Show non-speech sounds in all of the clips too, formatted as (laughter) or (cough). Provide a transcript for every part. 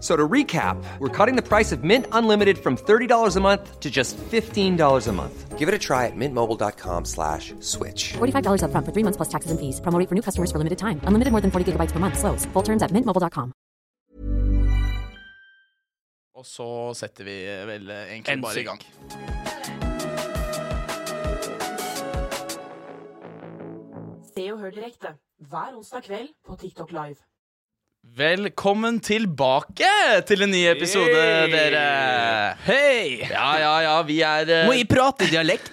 So to recap, we're cutting the price of Mint Unlimited from $30 a month to just $15 a month. Give it a try at mintmobile.com slash switch. $45 upfront for three months plus taxes and fees. Promo rate for new customers for limited time. Unlimited more than 40 gigabytes per month. Slows. Full terms at mintmobile.com. Og så setter vi vel egentlig En bare i gang. synk. Se og hør direkte hver onsdag kveld på TikTok Live. Velkommen tilbake til en ny episode, Hey! dere. Hei! Ja, ja, ja, vi er eh, Må jeg prate (laughs) dialekt?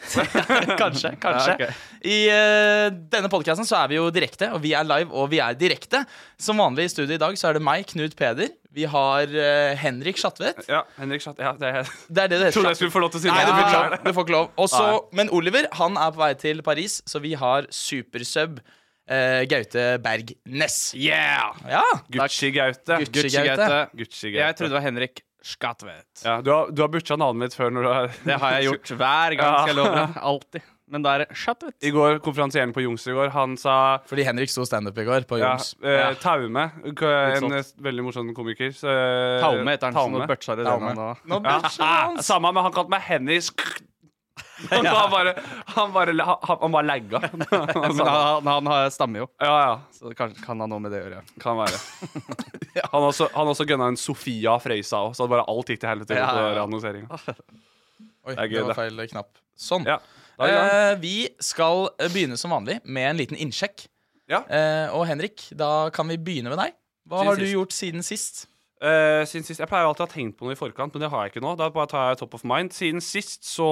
kanskje, kanskje. Ja, ok. I eh, denne podkasten så er vi jo direkte, og vi er live, og vi er direkte. Som vanlig i studio i dag så er det meg, Knut Peder. Vi har eh, Henrik Schatvedt. Ja, Henrik Schat. Ja, det er (laughs) jeg Det er det det sånn. heter. trodde jeg skulle få lov til å si Nei, du får ikke Beklager lov. Du får ikke lov. Og så- men Oliver han er på vei til Paris, så vi har supersub eh, Gaute Berg Næss. Yeah! Ja, takk. Gucci Gaute. Gucci Gaute. Gucci Gaute. Jeg trodde det var Henrik Skatvedt. ja, Du har, du har butcha navnet mitt før når du har Det har jeg gjort (laughs) hver gang, skal jeg love deg. Alltid. Men da er det Skatvedt. (laughs) I går, konferansieren på Jungs i går, han sa Fordi Henrik sto standup i går på ja, Jungs. eh, Taume, k- en eh, veldig morsom komiker. Så, eh, Taume heter han. Sånn Taume. noe butcher i Taume. den nå. Nå Ja. blir det sånn. (laughs) Samme, men han kalte meg Hennis. (laughs) Han bare, han bare, han, han bare lagga. (laughs) Han Men sa det. han, han har- stammer jo, Ja, ja. så kan, kan han noe med det å gjøre. Kan være. Han har også, han har også gønna en Sofia Frøysa òg, så bare alt gikk til helvete Ja, ja, på ja. annonseringa. Oi, er gøy, det var det. feil knapp. Sånn. Ja. Da er vi i gang. Eh, vi skal eh, begynne som vanlig med en liten innsjekk. Ja. Eh, og Henrik, da kan vi begynne med deg. Hva Siden har du sist. gjort siden sist? Eh, siden sist, Jeg pleier alltid å ha tenkt på noe i forkant, men det har jeg ikke nå. Da bare tar jeg top of mind. Siden sist så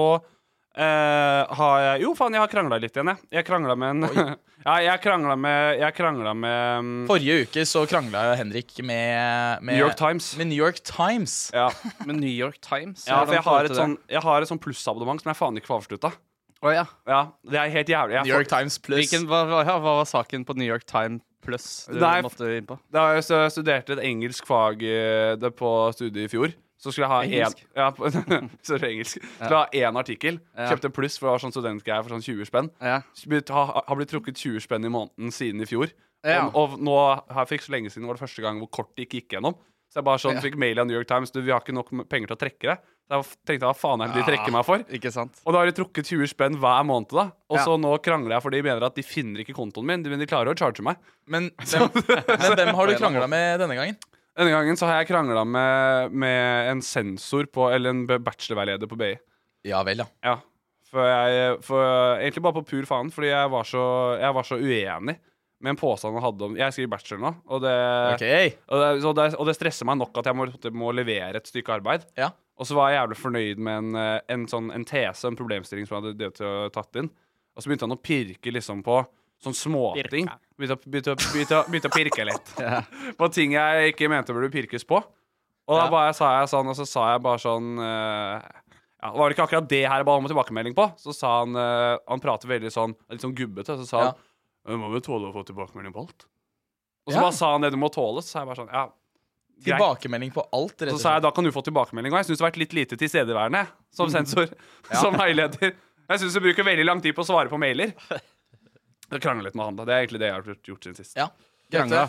eh, har jeg Jo, faen, jeg har krangla litt igjen, jeg. Jeg krangla med en (laughs) Ja, jeg krangla med Jeg krangla med mm, Forrige uke så krangla jo Henrik med, med New York Times. Med New York Times. Ja, Men New York Times ja for jeg har et sånn sånt Jeg har et sånn plussabonnement som jeg faen ikke får avslutta. ja. Ja, det er helt jævlig. Jeg New York Times pluss. Hvilken, hva, hva- ja, hva var saken på New York Times pluss du Nei, måtte inn på? Da jeg så- studerte et engelsk fag eh, det på studiet i fjor, så skulle jeg ha én Engelsk? ja, på- (laughs) Sorry, engelsk. Skulle ha én artikkel. Ja. Kjøpte pluss, for det var sånn studentgreie for sånn 20 spenn. Ja. Blitt- ha- Har blitt trukket 20 spenn i måneden siden i fjor. Ja. Og, og nå, her for ikke så lenge siden var det første gang hvor kort det ikke gikk gjennom. Så jeg bare sånn, fikk mail av New York Times Du, vi har ikke nok m- penger til å trekke det. Så jeg f- tenkte hva faen er det de trekker meg for? Ikke sant? Og da har de trukket 20 spenn hver måned, da. Og Ja. så nå krangler jeg, for de mener at de finner ikke kontoen min. Men de klarer å charge meg. Men hvem, (laughs) men hvem (laughs) har du krangla med denne gangen? Denne gangen så har jeg krangla med, med en sensor på Eller en b- bachelorveileder på BI. Ja vel, ja. Ja. For jeg, for egentlig bare på pur faen, fordi jeg var så, jeg var så uenig med en påstand han hadde om Jeg skriver bachelor nå, og det, Ok. og, det, så det, og det stresser meg nok at jeg må, må levere et stykke arbeid. Ja. Og så var jeg jævlig fornøyd med en, eh, en, sånn, en tese, en problemstilling som jeg hadde drevet og tatt inn. Og så begynte han å pirke liksom på sånn småting. Begynte, å- begynte, å- begynte, å- begynte å pirke (laughs) litt på ting jeg ikke mente burde pirkes på. Og da bare sa jeg sånn, og så sa jeg bare sånn eh, ja, Var det ikke akkurat det her jeg ba om tilbakemelding på? Så sa han eh, Han prater veldig sånn, litt sånn gubbete, så sa Ja. han Du må vel tåle å få tilbakemelding på alt? Og så Ja. bare sa han det du må tåle, så sa jeg bare sånn Ja, greit. Tilbakemelding på alt, rett Så og sa jeg slett. da kan du få tilbakemelding. Og jeg syns du har vært litt lite tilstedeværende som Mm. sensor. Som veileder. Jeg syns du bruker veldig lang tid på å svare på mailer. Jeg krangler litt med han, da. Det er egentlig det jeg har gjort siden sist. Ja. Gaute, Krangla.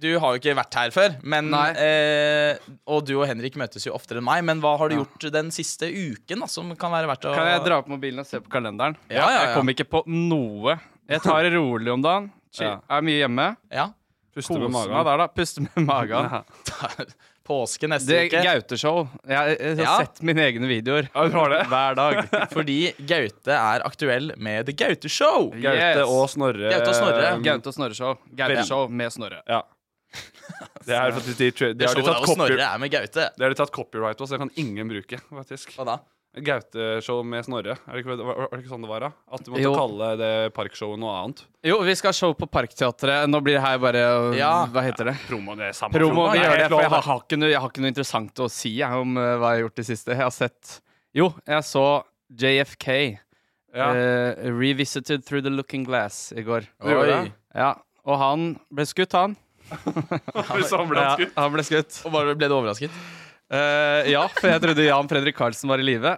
du har jo ikke vært her før, men, eh, og du og Henrik møtes jo oftere enn meg. Men hva har du gjort den siste uken da, som kan være verdt å Kan jeg dra opp mobilen og se på kalenderen? Ja, ja, ja. Jeg kom ikke på noe. Jeg tar det rolig om dagen. Chill. Ja. Er mye hjemme. Ja. (laughs) Puste med Koser magen. meg der, da. Puste med magen. Ja. Påske neste Det uke. er Gaute-show. Jeg, jeg, har Ja. sett mine egne videoer Ja, du har det? hver dag. Fordi Gaute er aktuell med The Gaute Show. (laughs) Gaute Yes. og Snorre. Gaute og Snorre. um, Gaute og Snorre-show. Gaute-show med Snorre. (laughs) Ja. Det er faktisk de, de, de, Det har de showet tatt der hvor copy, Snorre er med Gaute. det har de tatt copyright på, så det kan ingen bruke, faktisk. Hva da? Gaute-show med Snorre. Er det, ikke, var, var det ikke sånn det var, da? At du måtte Jo. kalle det parkshowet noe annet? Jo, vi skal ha show på Parkteatret. Nå blir det her bare Ja. Hva heter det? Promo, det er samme Promo. Vi Nei, gjør det, helt for jeg lov, har, har ikke noe, jeg har ikke noe interessant å si jeg, om eh, hva jeg har gjort i det siste. Jeg har sett Jo, jeg så JFK. Ja. eh, revisited Through The Looking Glass i går. Du gjorde det? Ja, Og han ble skutt, han. (laughs) Vi samler Ja, oss, gutt. han ble skutt. Og bare ble du overrasket? Eh, ja, for jeg trodde Jan Fredrik Karlsen var i live.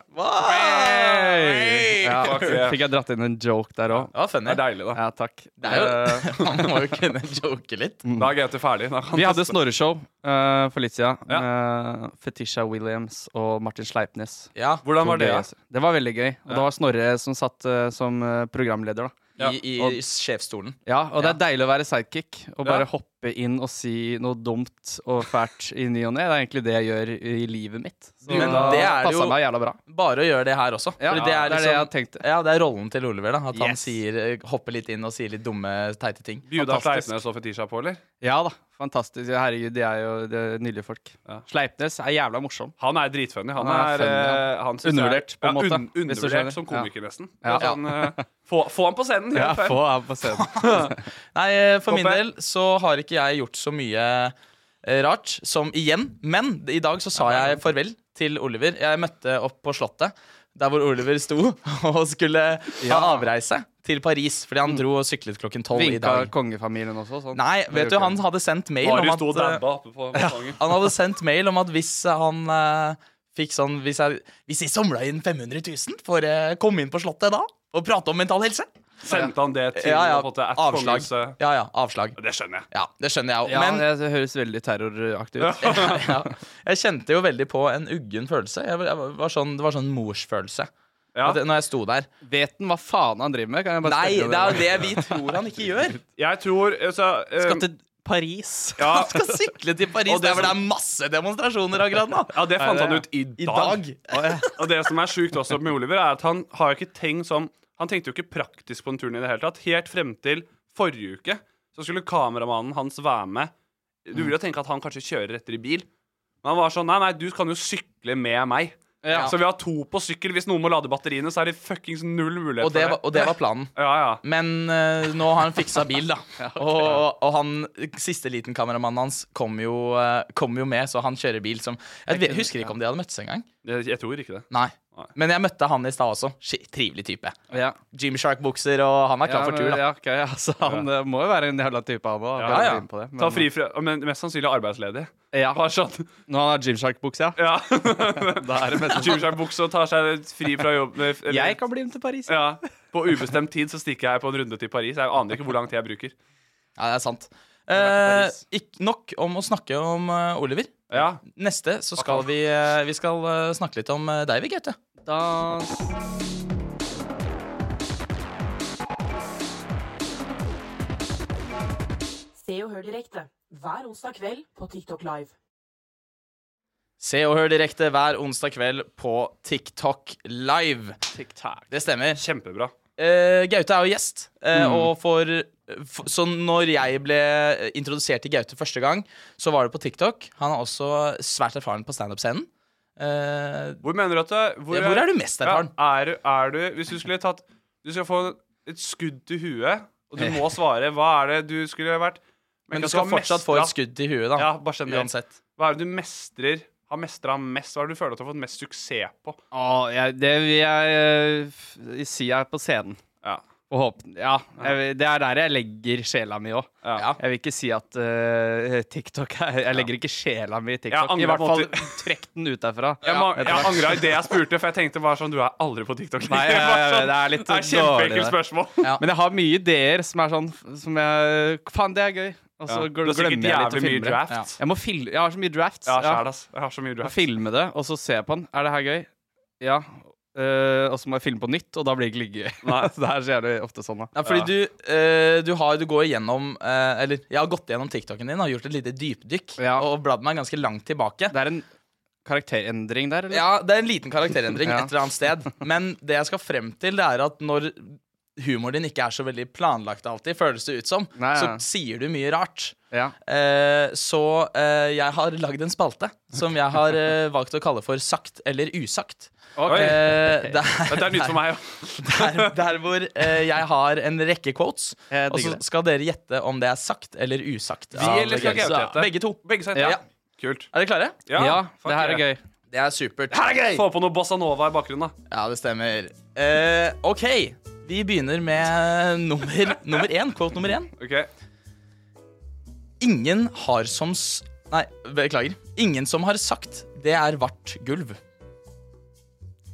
Hey! Ja, Fuck yeah. fikk jeg dratt inn en joke der òg. Det var funny. Det er deilig, da. Ja, takk. Det er Eh, jo, (laughs) man må jo kunne joke litt. Da er Gaute ferdig. Da kan Vi han hadde teste. Snorre-show eh, for litt siden. med Fetisha Williams og Martin Sleipnes. Ja, Hvordan var det? Gøy, altså. Det var veldig gøy. Og det var Snorre som satt eh, som eh, programleder, da. I, i, i sjefsstolen. Ja, og det er deilig å være sidekick og bare hoppe inn og si noe dumt og fælt i ny og ne. Det er egentlig det jeg gjør i livet mitt. Så Men da det er det passa jo- meg jævla bra. Bare å gjøre det liksom- her også. Ja, Fordi det er det jeg tenkte. Ja, det er rollen til Oliver. da At han Yes. sier, eh, hopper litt inn og sier litt dumme, teite ting. Bjuda Fantastisk. Sleipnes og Fetisha på, eller? Ja da, fantastisk. Herregud, de er jo de er nydelige folk. Sleipnes er jævla morsom. Han er dritfunny. Han, Han er er, funny, eh, han. han synes Undervurdert, jeg er- på en måte, Ja, hvis du skjønner. undervurdert som komiker, nesten. Ja. Altså, han, (laughs) eh, få, få han på scenen! Ja, helt fair. få ham på scenen. Nei, eh, for min Håper del så har ikke jeg gjort så mye eh, rart som igjen. Men i dag så sa jeg farvel til Oliver. Jeg møtte opp på Slottet, der hvor Oliver sto (laughs) og skulle ha avreise til Paris. Fordi han dro og syklet klokken tolv i (laughs) Vinka dag. kongefamilien også. Sånn. Nei, vet du, han hadde sendt mail om Marius at sto og eh, dabba oppe på balkongen. Han hadde sendt mail om at hvis han eh, fikk sånn Hvis jeg, hvis jeg samla inn 500 000 for å komme inn på Slottet da og prate om mental helse Sendte han det til eh. Ja, ja. og fått det at Avslag. kongehuset? Ja, ja, avslag. Det skjønner jeg. Ja, Det skjønner jeg òg. Ja, Men det, det høres veldig terroraktig ut. ja, jeg kjente jo veldig på en uggen følelse. Jeg, var- jeg var sånn, det var sånn morsfølelse Ja. At jeg- når jeg sto der. (laughs) Vet han hva faen han driver med? Kan jeg bare Nei, spørre om det er jo det vi tror han ikke gjør. Jeg tror altså, eh, Skal til Paris. ja, Han skal sykle til Paris, Og det der hvor det som- er masse demonstrasjoner akkurat nå. ja, det fant Er det- han ut i Eh, I dag. dag. (laughs) Og det som er sjukt også med Oliver, er at han har jo ikke tenkt sånn Han tenkte jo ikke praktisk på den turen i det hele tatt. Helt frem til forrige uke så skulle kameramannen hans være med. Du vil jo tenke at han kanskje kjører etter i bil, men han var sånn Nei, nei, du kan jo sykle med meg. Ja. Så vi har to på sykkel. Hvis noen må lade batteriene, så er det fuckings null mulighet Og det, var, for det. og det var planen. Ja, ja. Men eh, nå har han fiksa bil, da. og, og han siste liten kameramannen hans kom jo, eh, kom jo med, så han kjører bil som Jeg vet, husker ikke om de hadde møttes engang. Jeg, jeg tror ikke det. Nei. Nei. Men jeg møtte han i stad også. Ski- Trivelig type. Ja. Gymshark-bukser, og han er klar for tur, da. Ja, ok, altså, han eh, må jo være en jævla type, han òg. Ja, ja. Ta fri fra Men mest sannsynlig arbeidsledig. Ja. Bare sånn Når han har Gymshark-bukse, ja. (laughs) Ja. Da er det mest Skyver seg i buksa og tar seg fri fra jobb. eller- Jeg kan bli med til Paris. Ja. På ubestemt tid så stikker jeg på en runde til Paris. Jeg aner ikke hvor lang tid jeg bruker. Ja, det er sant. vært i Eh, Paris. ikk- nok om å snakke om eh, Oliver. Ja. Neste så skal vi, eh, vi skal eh, snakke litt om eh, deg, vi, Gaute. Da Se og hør direkte hver onsdag kveld på TikTok Live. Se og hør direkte hver onsdag kveld på TikTok Live. Det stemmer. Kjempebra. Eh, Gaute er jo gjest, eh, og for, for Så når jeg ble introdusert til Gaute første gang, så var det på TikTok. Han er også svært erfaren på standup-scenen. Eh, Hvor mener du at du Ja, hvor er du mest erfaren? Ja, er, du, er du Hvis du skulle tatt Du skal få et skudd til huet, og (laughs) du må svare. Hva er det du skulle vært men du skal fortsatt få et skudd til huet, da. Ja, bare generelt. uansett. Hva er det du mestrer? Har mestra mest? Hva er det du føler at du har fått mest suksess på? Å, jeg, Det vil jeg eh, f- si er på scenen. Ja. Og håp, ja, jeg, vil- det er der jeg legger sjela mi òg. Jeg vil ikke si at eh, TikTok er Jeg legger ikke sjela mi i TikTok. angrer I hvert på fall at du- trekk den ut derfra. Jeg, ma- Etter jeg hvert. angra i det jeg spurte, for jeg tenkte bare sånn Du er aldri på TikTok. Nei, jeg, jeg, det er litt sånn, det er kjempeenkelt dårlig, det. spørsmål. Men jeg har mye ideer som er sånn Som jeg Faen, det er gøy. Og så Ja. gl- Du har sikkert glemmer jeg litt å jævlig mye filme det. draft. Ja. Jeg, må fil jeg har så mye drafts. Ja, sjæl, ass. Jeg har så mye Må draft. filme det, og så se på den. Er det her gøy? Ja. Eh, og så må jeg filme på nytt, og da blir det ikke like gøy. (laughs) Så det er så jævlig ofte sånn, da. Ja, fordi Du, eh, du, har, du går igjennom eh, Eller jeg har gått igjennom TikToken din og gjort et lite dypdykk. Og bladd meg ganske langt tilbake. Det er en karakterendring der, eller? Ja, det er en liten karakterendring (laughs) Ja. et eller annet sted. Men det jeg skal frem til, det er at når humoren din ikke er så veldig planlagt alltid, føles det ut som, Nei, ja. så sier du mye rart. Ja. Eh, så eh, jeg har lagd en spalte som jeg har eh, valgt å kalle for Sagt eller usagt. Oi. eh, Dette er nytt for meg, der, der hvor eh, jeg har en rekke quotes, og så skal dere gjette om det er sagt eller usagt. Vi av eller skal Gaute. Gaute hete? Begge to. Begge sagt, ja. Kult. Er dere klare? Ja, Ja, fuck det her er yeah. gøy. Det er supert. Her er gøy! Få på noe bossa nova i bakgrunnen, da. Ja, det stemmer. Eh, OK, vi begynner med nummer, nummer én. Quote nummer én. Ok. Ingen har som s... Nei, beklager. Ingen som har sagt 'det er vart gulv'.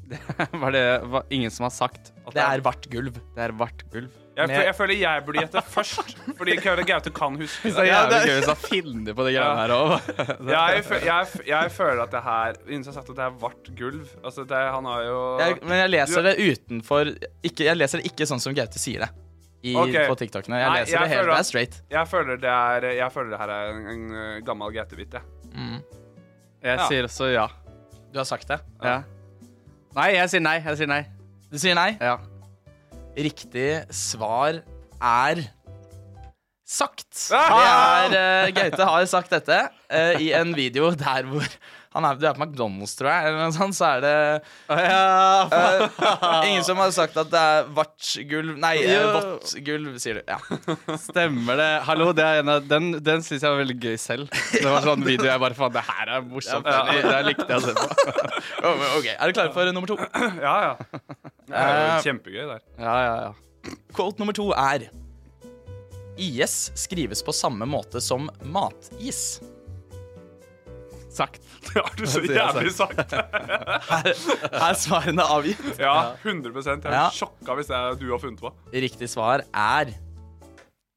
(laughs) Var det var ingen som har sagt at Det er vart gulv. Det er vart gulv. Jeg, Med- fø- jeg føler jeg burde gjette først, fordi Køre Gaute kan huske Så jævlig gøy hvis han finner på de greiene (laughs) her (laughs) òg. Jeg, fø- jeg, f- jeg føler at det her Innså sagt at det er vart gulv. Altså, det, er- han har jo Jeg, men jeg leser Du- det utenfor ikke, Jeg leser det ikke sånn som Gaute sier det i, Ok. på TikTokene. Jeg Nei, leser det helt føler det at- er straight. Jeg føler det, er, jeg føler det her er en, en uh, gammel Gaute-bit, jeg. Jeg Ja. sier også ja. Du har sagt det. ja. Nei, jeg sier nei. Jeg sier nei. Du sier nei? Ja. Riktig svar er (laughs) sagt. Det er, eh, Gaute har sagt dette eh, i en video der hvor han er, Du er på McDonald's, tror jeg, eller noe sånt, så er det Eh, Ingen som har sagt at det er vartsgulv Nei, eh, Jo. vottgulv, sier du. Ja. Stemmer det. Hallo, det er en av, den den syns jeg var veldig gøy (laughs) selv. Det var sånn video jeg bare Faen, det her er morsomt. Ja. Det, det likte jeg å se (laughs) på. Oh, men Ok, Er du klare for nummer to? Ja, ja. Det er jo kjempegøy, det her. Ja, ja, ja. Quote nummer to er IS skrives på samme måte som matis. Sagt. Det har du så jævlig sagt. Er svarene avgitt? Ja, 100 Jeg er Ja. sjokka hvis det er du har funnet på. Riktig svar er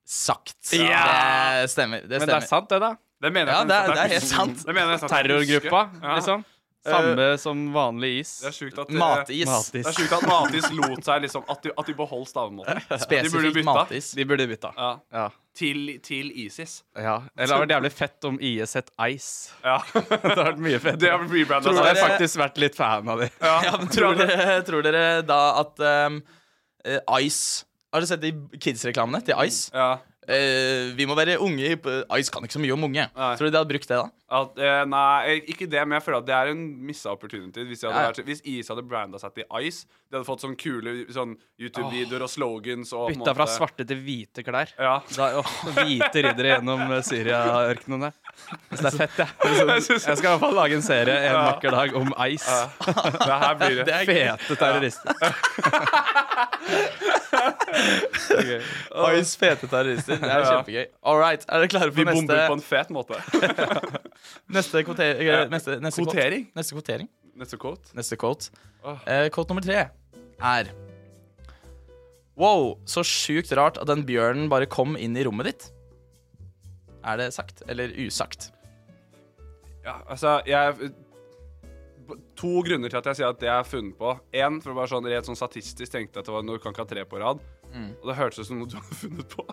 sagt. Ja! Det stemmer. Det Men det stemmer. er sant, det, da. Det mener Ja, jeg det er, nesten det at er jeg helt husker. sant. Det mener jeg nesten at jeg Terrorgruppa, husker. Ja. liksom. Samme som vanlig is. Det er sjukt at eh, Matis. Det er sjukt at Matis lot seg liksom At de, at de beholdt stavemåten. De burde Spesifikt bytta. matis. De burde bytta. Ja. Ja. Til, til ISIS. ja. Eller det hadde vært jævlig fett om IS het Ice. Ja. Det hadde vært mye fett. Det har blitt rebranda. Tror jeg dere- har faktisk vært litt fan av de. (laughs) Ja, men tror, dere, tror dere da at um, eh, Ice Har dere sett de kids-reklamene til Ice? Ja. Eh, vi må være unge i Ice kan ikke så mye om unge. Nei. Tror du de hadde brukt det da? At, eh, nei, ikke det, men jeg føler at det er en missa opportunity. Hvis, de hadde Ja, ja. vært, hvis IS hadde branda seg til Ice, de hadde fått sånne kule sånn YouTube-videoer og slogans og på en Bytta fra måte- svarte til hvite klær. Ja. Da, åh, hvite riddere gjennom eh, Syria-ørkenen der. Så det er fett, jeg. (laughs) Jeg Jeg synes- skal i hvert fall lage en serie en vakker dag om Ice. Det her blir det. (laughs) Fete terrorister. (laughs) Ice fete terrorister. Det er kjempegøy. All right, Er dere klare Vi for bomber på neste, en fet måte. neste, kvote- eh, neste, neste quote? Kvotering. Neste kvotering. Neste quote. Neste quote. Eh, quote nummer tre er Wow, så sjukt rart at den bjørnen bare kom inn i rommet ditt. Er det sagt eller usagt? Ja, altså, jeg To grunner til at jeg sier at det er funnet på. Én, for å være sånn rett sånn statistisk tenkte jeg at det var noe du kan ikke ha tre på rad. Og det hørtes ut som noe du hadde funnet på.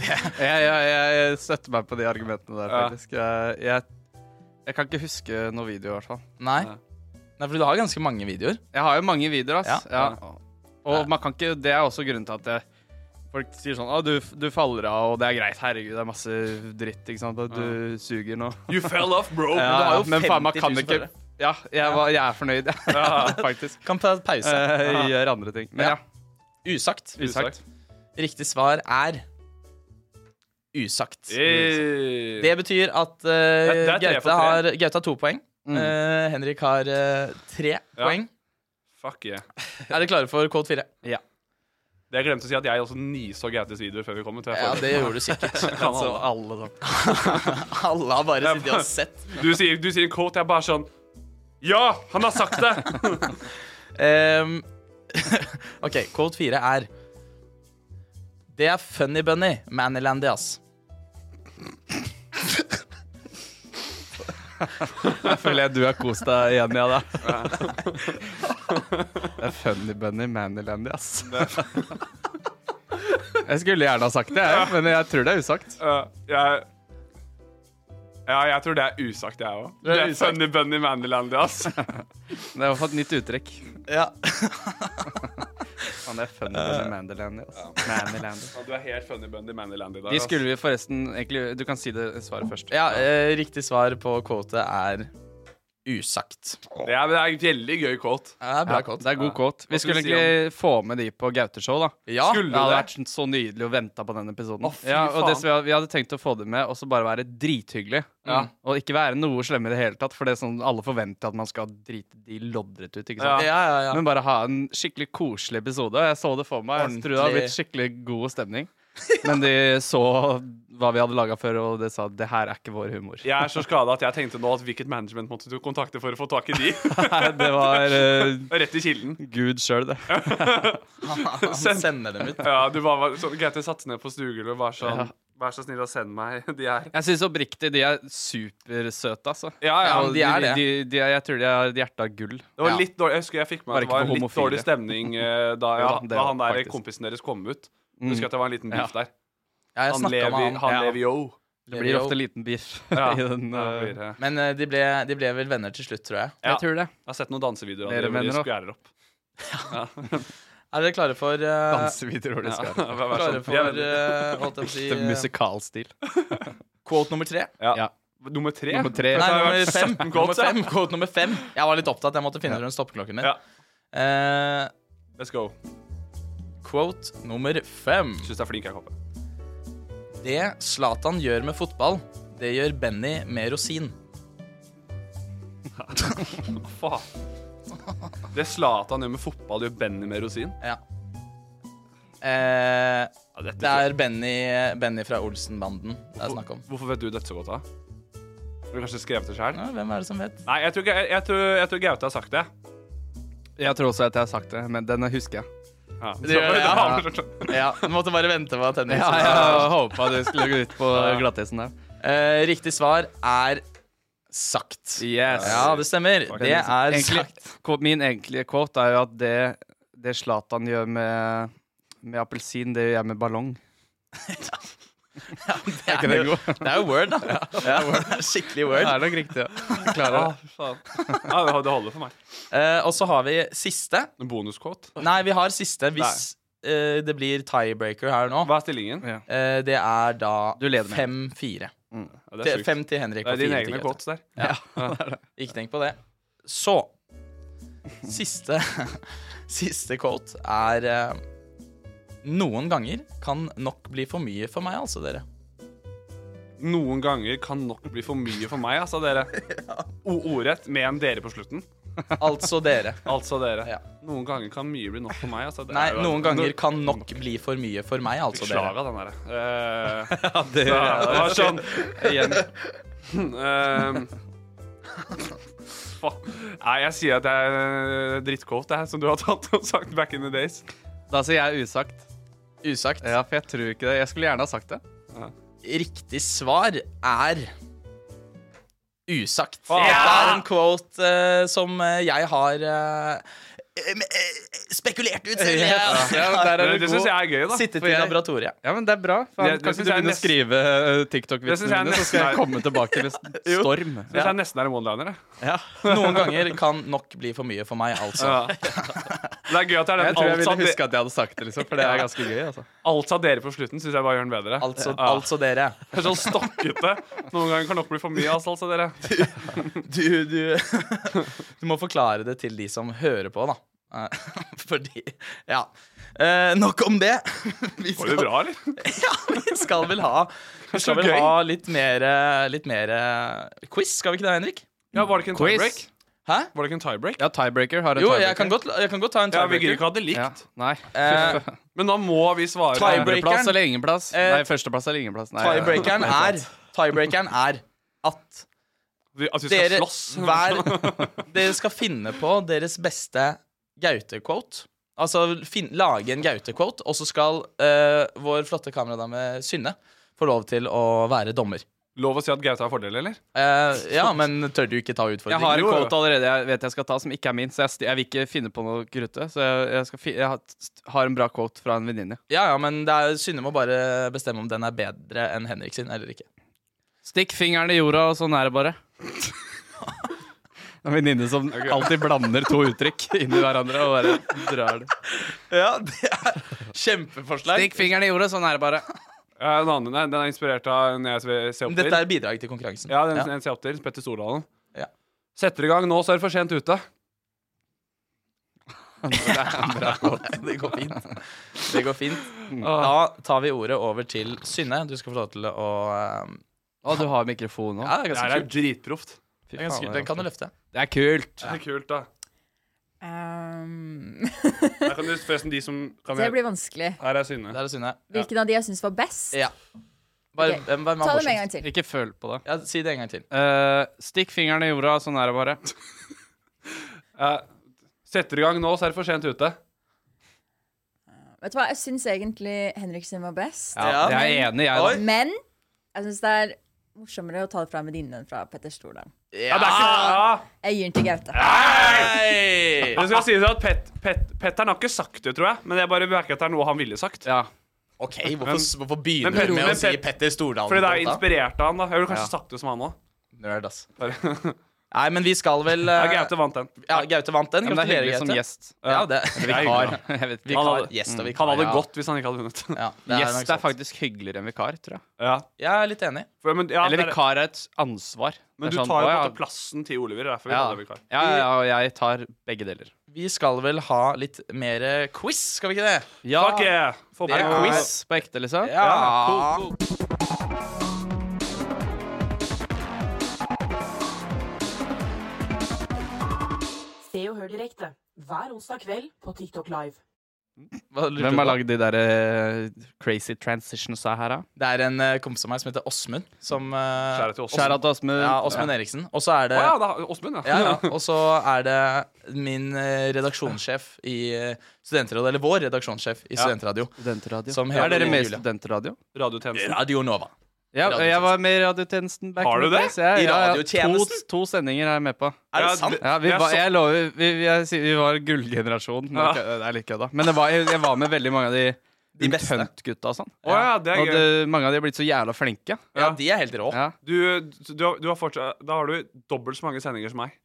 Jeg, jeg, jeg støtter meg på de argumentene der, faktisk. Jeg, jeg, (laughs) jeg kan ikke huske noe video, i hvert fall. Nei. Nei, fordi du har ganske mange videoer. Jeg har jo mange videoer, ass. Ja. Ja. Og man kan ikke, det er også grunnen til at jeg, folk sier sånn Å, du, du faller av, og det er greit. Herregud, det er masse dritt, ikke sant. Og du suger nå. You fell off, bro! Ja, har jo men faen, 50 man kan 000 ikke følgere. Ja, jeg, var, jeg er fornøyd, ja. (laughs) faktisk. Kan ta pause. Jeg gjør andre ting. Men ja, Usagt. usagt. Riktig svar er usagt. Eh, Det betyr at eh, Det- det er tre for Gaute tre. har, Gaute har to poeng. Eh, Henrik har eh, tre poeng. Fuck yeah. Er dere klare for kode fire? Ja. Det jeg glemte å si, at jeg også niså Gautes videoer før vi kom. Til Ja, det gjorde du sikkert. Kan Altså, alle, alle. da. (laughs) alle har bare sittet og sett. Du sier, du sier en quote, jeg er bare sånn Ja, han har sagt det! Ehm, (laughs) OK, quote fire er Det er Funny Bunny, Manilandy, ass. Jeg føler jeg du har kost deg igjen, ja da. (laughs) Det er funny bunny, manilandy, ass. Jeg skulle gjerne ha sagt det, jeg, men jeg tror det er usagt. Ja, jeg ja, jeg tror det er usagt, jeg òg. Det er funny bunny Mandyland, ass. Det er i hvert fall et nytt uttrykk. (laughs) Ja. Han er funny bunny, manilandy, ass. Manilandy. Eh, Ja, Du er helt funny bunny Mandyland i dag. De ass. skulle vi forresten egentlig Du kan si det svaret først. ja eh, riktig svar på quote er usagt. Det er, det er en veldig gøy quote. Det er bra quote. Det er god quote. Vi Hva skal skulle vi si egentlig få med de på Gauteshow, da. Ja. Det Skulle hadde det? vært sånn- så nydelig å vente på den episoden. Å, fy ja, og det faen. som vi, hadde, vi hadde tenkt å få det med, og så bare være drithyggelig. Ja. Og ikke være noe slemme i det hele tatt, for det er sånn alle forventer at man skal drite de loddrett ut. ikke Ja, sant? ja, ja. (laughs) Men bare ha en skikkelig koselig episode. og Jeg så det for meg. Jeg tror det hadde blitt skikkelig god stemning. Men de så hva vi hadde laga før, og de sa det her er ikke vår humor. Jeg er så skada at jeg tenkte nå at hvilket management måtte du kontakte for å få tak i de? (laughs) Det var eh, (laughs) Rett i kilden. Gud sjøl, det. Han sender dem ut. Ja, du var, var sånn, Gaute satte seg ned på stuegulvet og var sånn Vær så snill å sende meg (laughs) de her. (laughs) Jeg syns oppriktig de er supersøte, altså. Ja, ja, Og de er det. De, de, er- jeg tror de har et hjerte av gull. Det var Ja. litt dårlig, Jeg husker jeg fikk med Var at det ikke var for litt homofile. dårlig stemning eh, da, ja, (laughs) Jo da, det da var han der faktisk. Mm. kompisen deres kom ut. Jeg Husker at det var en liten beef der. Ja, jeg Han snakka lever, med han. han Ja. lever jo. Det blir ofte liten biff Ja. (laughs) i den. Ja, eh, det blir det. Men eh, de ble, de ble vel venner til slutt, tror jeg. Ja. Jeg tror det. Jeg har sett noen dansevideoer av Dere dem hvor de venner, da? skværer (laughs) opp. (laughs) Er dere klare for eh, Dansevideoer de skal ha. Ja, vær Klare sånn. for Ja, men- eh, holdt jeg på å si Det er eh, musikalstil. quote nummer tre? Ja. Nummer tre? Nummer tre. Nei, Det har nummer vært fem. 17 Nummer quotes, ja. fem. Quote nummer fem. Jeg var litt opptatt. Jeg måtte finne rundt stoppeklokken min. Ja. Eh, Let's go. quote nummer fem. Syns jeg er flink, jeg, Koppe. Det Zlatan gjør med fotball, det gjør Benny med rosin. Faen. Det Zlatan gjør med fotball, gjør Benny med rosin. Ja. Eh, dette det er Benny, Benny fra Olsenbanden det er snakk om. Hvorfor vet du dette så godt, da? Har du kanskje skrevet det sjøl? Ja, hvem er det som vet? Nei, jeg tror, ikke- jeg, jeg, tror, jeg tror Gaute har sagt det. Jeg tror også at jeg har sagt det, men den husker jeg. Ja. Det gjør (laughs) det, ja. Så- Ja, Du måtte bare vente på at Henrik Ja, jeg (laughs) håpa du skulle gå ut på glattisen der. eh, Riktig svar er sagt. Yes. Ja, det stemmer. Det er liksom Egentlig, sagt. quote- min egentlige quote er jo at det det Zlatan gjør med, med appelsin, det gjør jeg med ballong. (laughs) Det er, jo, det er jo word, da. (laughs) Ja, det er (laughs) Skikkelig Det word. er nok riktig. Ja. Klarer Ja, det. (laughs) faen. Ja, det det holder for meg. Eh, og så har vi siste. En bonusquote. Nei, vi har siste hvis eh, det blir tiebreaker her nå. Hva er stillingen? Ja. Eh, det er da Du leder med. 5-4. Ja, det er Til- sjukt. Fem til Henrik Det er og dine fire til egne Gaute. quotes der. (laughs) (laughs) Ikke tenk på det. Så Siste (laughs) Siste quote er eh, Noen ganger kan nok bli for mye for meg, altså, dere. Noen ganger kan nok bli for mye for meg, altså, (laughs) dere. O- Ordrett med en dere på slutten. Altså (laughs) dere. Altså dere. Ja. Noen ganger kan mye bli nok for meg. Altså, det Nei, er jo- noen ganger kan nok bli for mye for meg, altså dere. Slag av den derre. Eh, ja, det gjør det jeg. var sånn Ah, Igjen. eh, (laughs) Faen. Nei, jeg sier at det er drittquote, det her, som du har tatt og sagt back in the days. Da sier jeg usagt. Usagt. Ja, for jeg tror ikke det. Jeg skulle gjerne ha sagt det. Riktig svar er Usagt. Ja! Det er en quote eh, som eh, jeg har eh, em, eh, spekulert ut selv. jeg. Ja, der Det, Eh, er du det god. syns jeg er gøy, da. Sittet For i jeg- laboratoriet. Ja, men det er bra. Det- Faen, det kanskje synes du jeg er begynner å nesten- skrive eh, Det synes jeg TikTok-vitsene dine, så skal nesten er- jeg komme tilbake med s- storm. Syns jeg nesten er en one-liner. jeg. Noen ganger kan nok bli for mye for meg, (laughs) altså. Ja. (laughs) Det er gøy at det er Jeg den tror jeg alt sa ville de- huske at jeg hadde sagt det, liksom, for det er ganske gøy. altså. alt sa dere på slutten, syns jeg bare gjør den bedre. Altså, Ja. altså dere. Det er sånn stokkete. Noen ganger kan nok bli for mye, altså, altså dere. Du, du, (laughs) du må forklare det til de som hører på, da. Eh, (laughs) Fordi Ja. Eh, nok om det. (laughs) Vi Går det skal, bra, eller? (laughs) ja, vi skal vel ha Vi skal vel gøy. ha litt mer, eh, litt mer eh, quiz, skal vi ikke det, Henrik? Ja, var det ikke en Quiz. tiebreak? Hæ? Var det ikke en tiebreak? Ja, tiebreaker har en Jo, tiebreaker. jeg kan godt, jeg kan godt ta en Ja, vi tiebreaker. gidder ikke ha det likt. Nei. (laughs) Eh, Men da må vi svare. Tiebreak. Andreplass eller ingenplass? Eh, Nei, førsteplass eller ingenplass. Nei, tiebreakeren nei, er Tiebreakeren er at Vi- At vi skal dere slåss. (laughs) hver Dere skal finne på deres beste Gaute-quote. Altså fin, lage en Gaute-quote, og så skal eh, vår flotte kameradame Synne få lov til å være dommer. Lov å si at Gaute har fordel, eller? Eh, ja, men tør du ikke ta Jeg utfordringen? har en jo. kvote allerede jeg vet jeg skal ta, som ikke er min, så jeg, st- jeg vil ikke finne på noe krutte. Så jeg, jeg, skal fi, jeg har- st- har en bra quote fra en venninne. Ja, ja, men det er, Synne må bare bestemme om den er bedre enn Henrik sin eller ikke. Stikk fingeren i jorda, og sånn er det bare. En venninne som alltid blander to uttrykk inn i hverandre og bare drar det. Ja, det er kjempeforslag. Stikk fingeren i jorda, sånn er det bare. Ja, en annen, nei, den er inspirert av en jeg ser opp til. Dette er bidrag til konkurransen. Ja, den jeg ser opp til. Petter Stordalen. Ja. Setter i gang nå, så er det for sent ute. (laughs) Det går fint. Det går fint. Da tar vi ordet over til Synne. Du skal få lov til å eh, Å, du har mikrofon nå. Ja, det er Det ganske her er kult. dritproft. Fy Det er ganske, faen, den kan du løfte. det er kult. Det er kult, da. Um, Her kan du forresten de (laughs) som kan det blir vanskelig. Her er Synne. Der er Synne. Hvilken av de jeg syns var best? Ja. Bare, Ok. hvem, hvem Ta det med er en morsomst? gang til. Ikke føl på det. Ja, si det en gang til. Eh, stikk fingeren i jorda, sånn er det bare. (laughs) Eh, setter i gang nå, så er det for sent ute. Vet du hva, Jeg syns egentlig Henrik sin var best. Ja. Jeg er enig, jeg. Oi. Da. Men jeg syns det er morsommere å ta det fra venninnen fra Petter Stordalen. Ja, Det er ikke ja. Jeg gir den til Gaute. Hei! Det skal sies at Pet, Pet, Petteren har ikke sagt det, tror jeg. Men jeg bare merker at det er noe han ville sagt. Ja. OK, hvorfor, hvorfor begynner men Petter- du med å men si Pet- Petter Stordalen? Fordi det er på dette? inspirert av han, da. Jeg ville kanskje Ja. sagt det som han òg. Nerd, ass. Bare- (laughs) Nei, men vi skal vel eh, Ja, Gaute vant den. Ja, Gaute vant den. Men det er Gratulerer, hyggelig som Gaute. gjest. Ja, det Det er hyggelig, da. Han (laughs) Jeg vet, vikar. Mm. hadde- Gjest og vikar. Han hadde ja. gått hvis han ikke hadde vunnet. Ja, det er nok Gjest er sånn. sant. faktisk hyggeligere enn vikar, tror jeg. (laughs) Ja. Jeg er litt enig. For, men, ja, Eller det er- vikar er et ansvar. Men Det du er tar sånn, jo på å, en ja. måte plassen til Oliver. Derfor vi Ja. kaller det vikar. Ja, ja, og jeg tar begge deler. Vi skal vel ha litt mer eh, quiz, skal vi ikke det? Ja, Fuck yeah! Få på Det er noe- quiz. på ekte, liksom? Ja. Se og hør direkte hver onsdag kveld på TikTok Live. Hva lurte du Hvem på? har lagd de der eh, crazy transitionsa her, da? Det er en eh, kompis av meg som heter Åsmund. Som eh, Kjære til Åsmund. Kjære til Åsmund. Ja, Åsmund Eriksen. Og så er Å det ja, det er Åsmund, ja. ja, (laughs) ja. Og så er det min eh, redaksjonssjef i eh, Studentradio, eller vår redaksjonssjef i Studentradio, Studentradio. Som er heter dere med i Julia. Studentradio? Radiotjenesten. Radio Nova. Ja, Radiotjenesten. jeg var med i radiotjenesten. Back Har in du the det? days, Jeg, I ja, ja. radiotjenesten? To, to sendinger er jeg med på. Er det Ja, sant? Ja, vi, Jeg var, så- jeg lover, vi, vi, jeg, sier vi var gullgenerasjon. men Ja. Det er litt kødda. Men det var, jeg, jeg var med veldig mange av de De beste. Hunt-gutta og sånn. Å ja, det er og gøy. det, mange av de er blitt så jævla flinke. Ja, de er helt rå. Ja, Du, du, har- du har fortsatt, da har du dobbelt så mange sendinger som meg.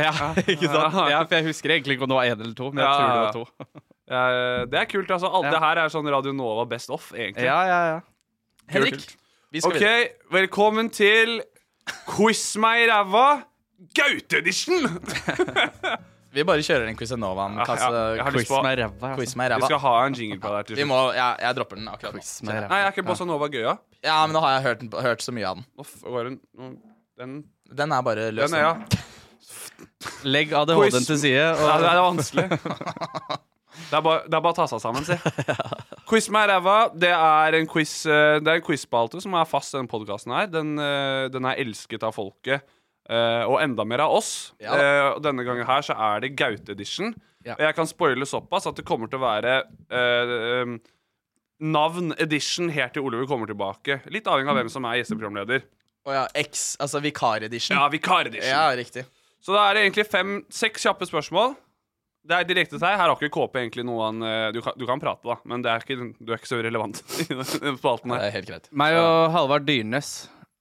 ja (laughs) ikke sant? Ja, for jeg husker egentlig ikke om det var én eller to, men jeg Ja, tror ja, det var to. Eh, det er kult. altså Alt Ja. det her er sånn Radio Nova best off, egentlig. Ja, ja, ja. Henrik, vi skal OK, videre. velkommen til Quiz meg i ræva. Gaute-edition! Vi bare kjører den quizen Novaen. Ja, kasse- ja, jeg har lyst Quiz på- med ræva. quiz Altså. med Vi skal ræva. ha en jingle på det her til Vi slutt. må, jeg, jeg dropper den akkurat Quiz nå. med Nei, ræva. er ikke Bossa Nova gøya? Ja, men nå har jeg hørt, den- hørt så mye av den. Nå f- går den nå- Den, Den er bare løs. den er ja. den. Legg ADHD-en Quiz- til side. Og, Ja, det er vanskelig. (laughs) Det er, bare, det er bare å ta seg sammen, (laughs) si. Quiz meg i ræva. Det er en quiz eh, Det er en quizspalte som er fast i denne podkasten her. Den, eh, den er elsket av folket, eh, og enda mer av oss. Ja da. Eh, og denne gangen her så er det Gaute-edition. Ja. Og Jeg kan spoile såpass at det kommer til å være eh, um, navn edition helt til Oliver kommer tilbake. Litt avhengig av hvem som er gjesteprogramleder. Å ja, X, altså vikar-edition. Ja, vikar-edition. Ja, riktig. Så da er det egentlig fem, seks kjappe spørsmål. Det er direkte til deg. Her har ikke KP egentlig noe han eh, Du kan, du kan prate, da, men det er ikke, du er ikke så relevant (laughs) i den den spalten Det her. er helt greit. meg og Halvard Dyrnes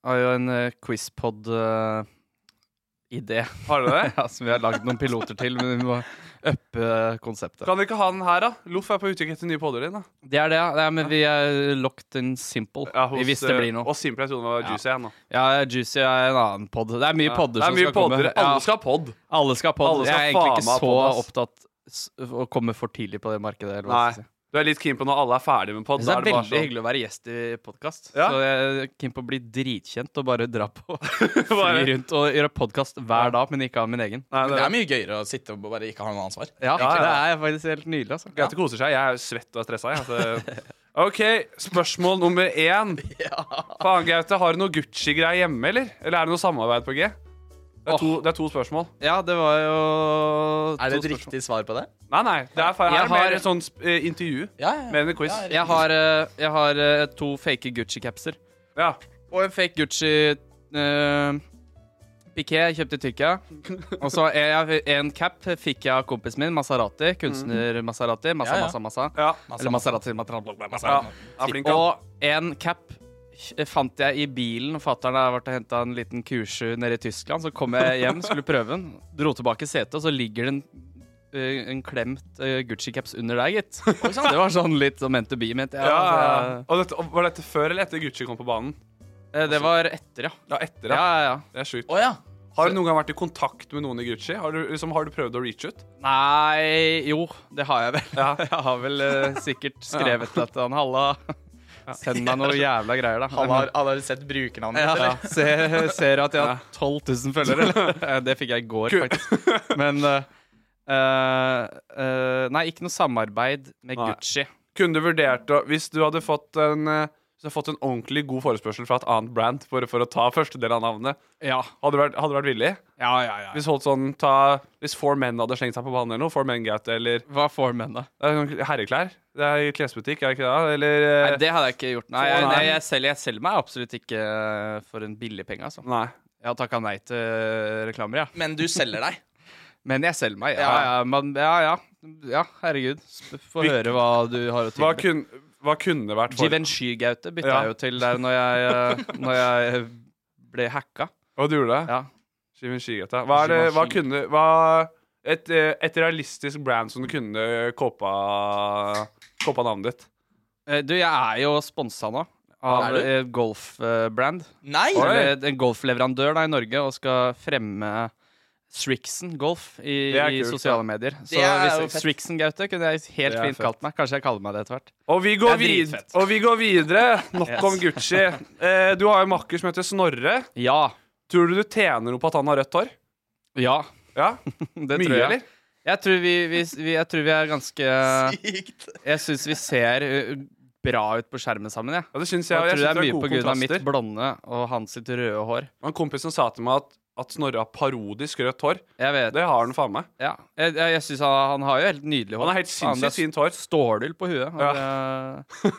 har jo en uh, quizpod-idé. Har du det? (laughs) ja, som vi har lagd noen piloter til, men vi må uppe konseptet. Kan du ikke ha den her, da? Loff er på utkikk etter nye podder din. da Det er det, ja. Nei, men vi er locked in simple. Ja, hos, hvis det eh, blir noe. Og Simple, jeg trodde det var Juicy igjen. da Ja, Juicy er en annen pod. Det er mye Ja. podder Det er som mye skal podder. komme. Alle skal ha pod. Ja, alle skal ha pod. Alle skal jeg er faen egentlig meg ikke ha så pod, ass. opptatt s- å komme for tidlig på det markedet. Eller hva Nei. skal jeg si. Du er litt keen på når alle er ferdige med pod. Jeg da synes det er bare veldig sånn- hyggelig å være gjest i podkast. Ja. Så jeg er keen på å bli dritkjent og bare dra på. (laughs) (laughs) Fly rundt og gjøre podkast hver dag, men ikke av min egen. Men eh, det er mye gøyere å sitte og bare ikke ha noe ansvar. Ja, Egentlig. det er faktisk helt nydelig. Altså. Gaute koser seg. Jeg er jo svett og stressa. Jeg. Altså. OK, spørsmål nummer (laughs) én. Faen, Gaute, har du noe Gucci-greier hjemme, eller? Eller er det noe samarbeid på G? Det er to, det er to spørsmål. Ja, det var jo Er det et riktig svar på det? Nei, nei. Det er, feil. her Jeg er det har- mer et sånt sp- eh, intervju. Mer enn en quiz. Jeg har, eh, jeg har eh, to fake Gucci-capser. Ja. Og en fake Gucci uh, piké jeg kjøpte i Tyrkia. Og så en, en cap fikk jeg av kompisen min, Maserati. Kunstner Maserati. Massa, Ja, ja. massa, massa. Massa, Eller massa. Maserati. Maserati, Ja, ja, flink, ja. Altså, Og en cap kj- fant jeg i bilen. Fatter'n har vært og henta en liten kursu nede i Tyskland. Så kom jeg hjem, skulle prøve den. Dro tilbake setet, og så ligger det en eh, en klemt eh, Gucci-caps under deg, gitt. Det var sånn litt sånn ment to be, mente jeg. Ja, ja, altså. ja. Og dette, og var dette før eller etter Gucci kom på banen? Eh, Det var etter, ja. Ja, etter, ja. ja, ja. Det er sjukt. ja. Har du noen gang vært i kontakt med noen i Gucci? Har du, liksom, har du prøvd å reach ut? Nei Jo, det har jeg vel. (laughs) Jeg har vel eh, sikkert skrevet til at han Halla, send meg noe jævla greier, da. Han har, han har sett brukernavnet ja, ditt, ja. eller? Ser, ser at jeg har 12 000 følgere. (laughs) eller? Eh, Det fikk jeg i går, faktisk. Men eh, eh, Nei, ikke noe samarbeid med Nei. Gucci. Kunne du vurdert å Hvis du hadde fått en eh, hvis du hadde fått en ordentlig god forespørsel fra et annet brand for, for å ta første del av navnet. Hadde du vært, hadde du vært villig? Ja, ja, ja. Hvis holdt sånn ta, Hvis Four Men hadde slengt seg på banen eller noe? Four Men Gaute eller Hva er Four Men, da? Herreklær? Det er i klesbutikk, er det ikke det? Eller eh, Nei, det hadde jeg ikke gjort. Nei, Å, jeg, nei. nei, jeg, selger, jeg selger meg absolutt ikke eh, for en billig penge, altså. Nei. Jeg har takka nei til eh, reklamer, ja. Men du selger deg. Men jeg selger meg, ja. Ja, Ja. men, ja, ja. ja herregud. Få Vi- høre hva du har å hva, tilby. kun, hva kunne vært for Givenchy-gaute bytta Ja. jeg jo til der når jeg, eh, når jeg ble hacka. Hva du gjorde det? Ja. Givenchy, Gaute. Hva, er det, hva kunne hva, et, eh, et realistisk brand som du kunne kåpa, kåpa navnet ditt? Eh, Du, jeg er jo sponsa nå Er av du? eh, golfbrand. Nei! Eller En golfleverandør da i Norge og skal fremme Strixen golf Det i, er i kult, sosiale da. medier. Så Det er jo hvis fett. Strixen Gaute kunne jeg helt Det er fint fett. kalt meg. Kanskje jeg kaller meg det etter hvert. Og vi går, Det er vid dritfett. og vi går videre. Nok om Gucci. Eh, du har jo en makker som heter Snorre. Ja. Tror du du tjener noe på at han har rødt hår? Ja. Ja? Det Mye, tror jeg. eller? Jeg tror vi, vi, vi, jeg tror vi er ganske Sykt. Jeg syns vi ser uh, bra ut på skjermen sammen, jeg. Ja, det syns jeg. (laughs) Jeg og Jeg tror synes det er mye på gode grunn av mitt kontraster. blonde og hans sitt røde hår. Og En kompis som sa til meg at, at Snorre har parodisk rødt hår. Jeg vet Det har han faen meg. Ja. Jeg, jeg, jeg syns han, han har jo helt nydelig hår. Han har helt Faen, det sinnssykt fint hår. Stålull på huet. Han, (laughs) er- altså.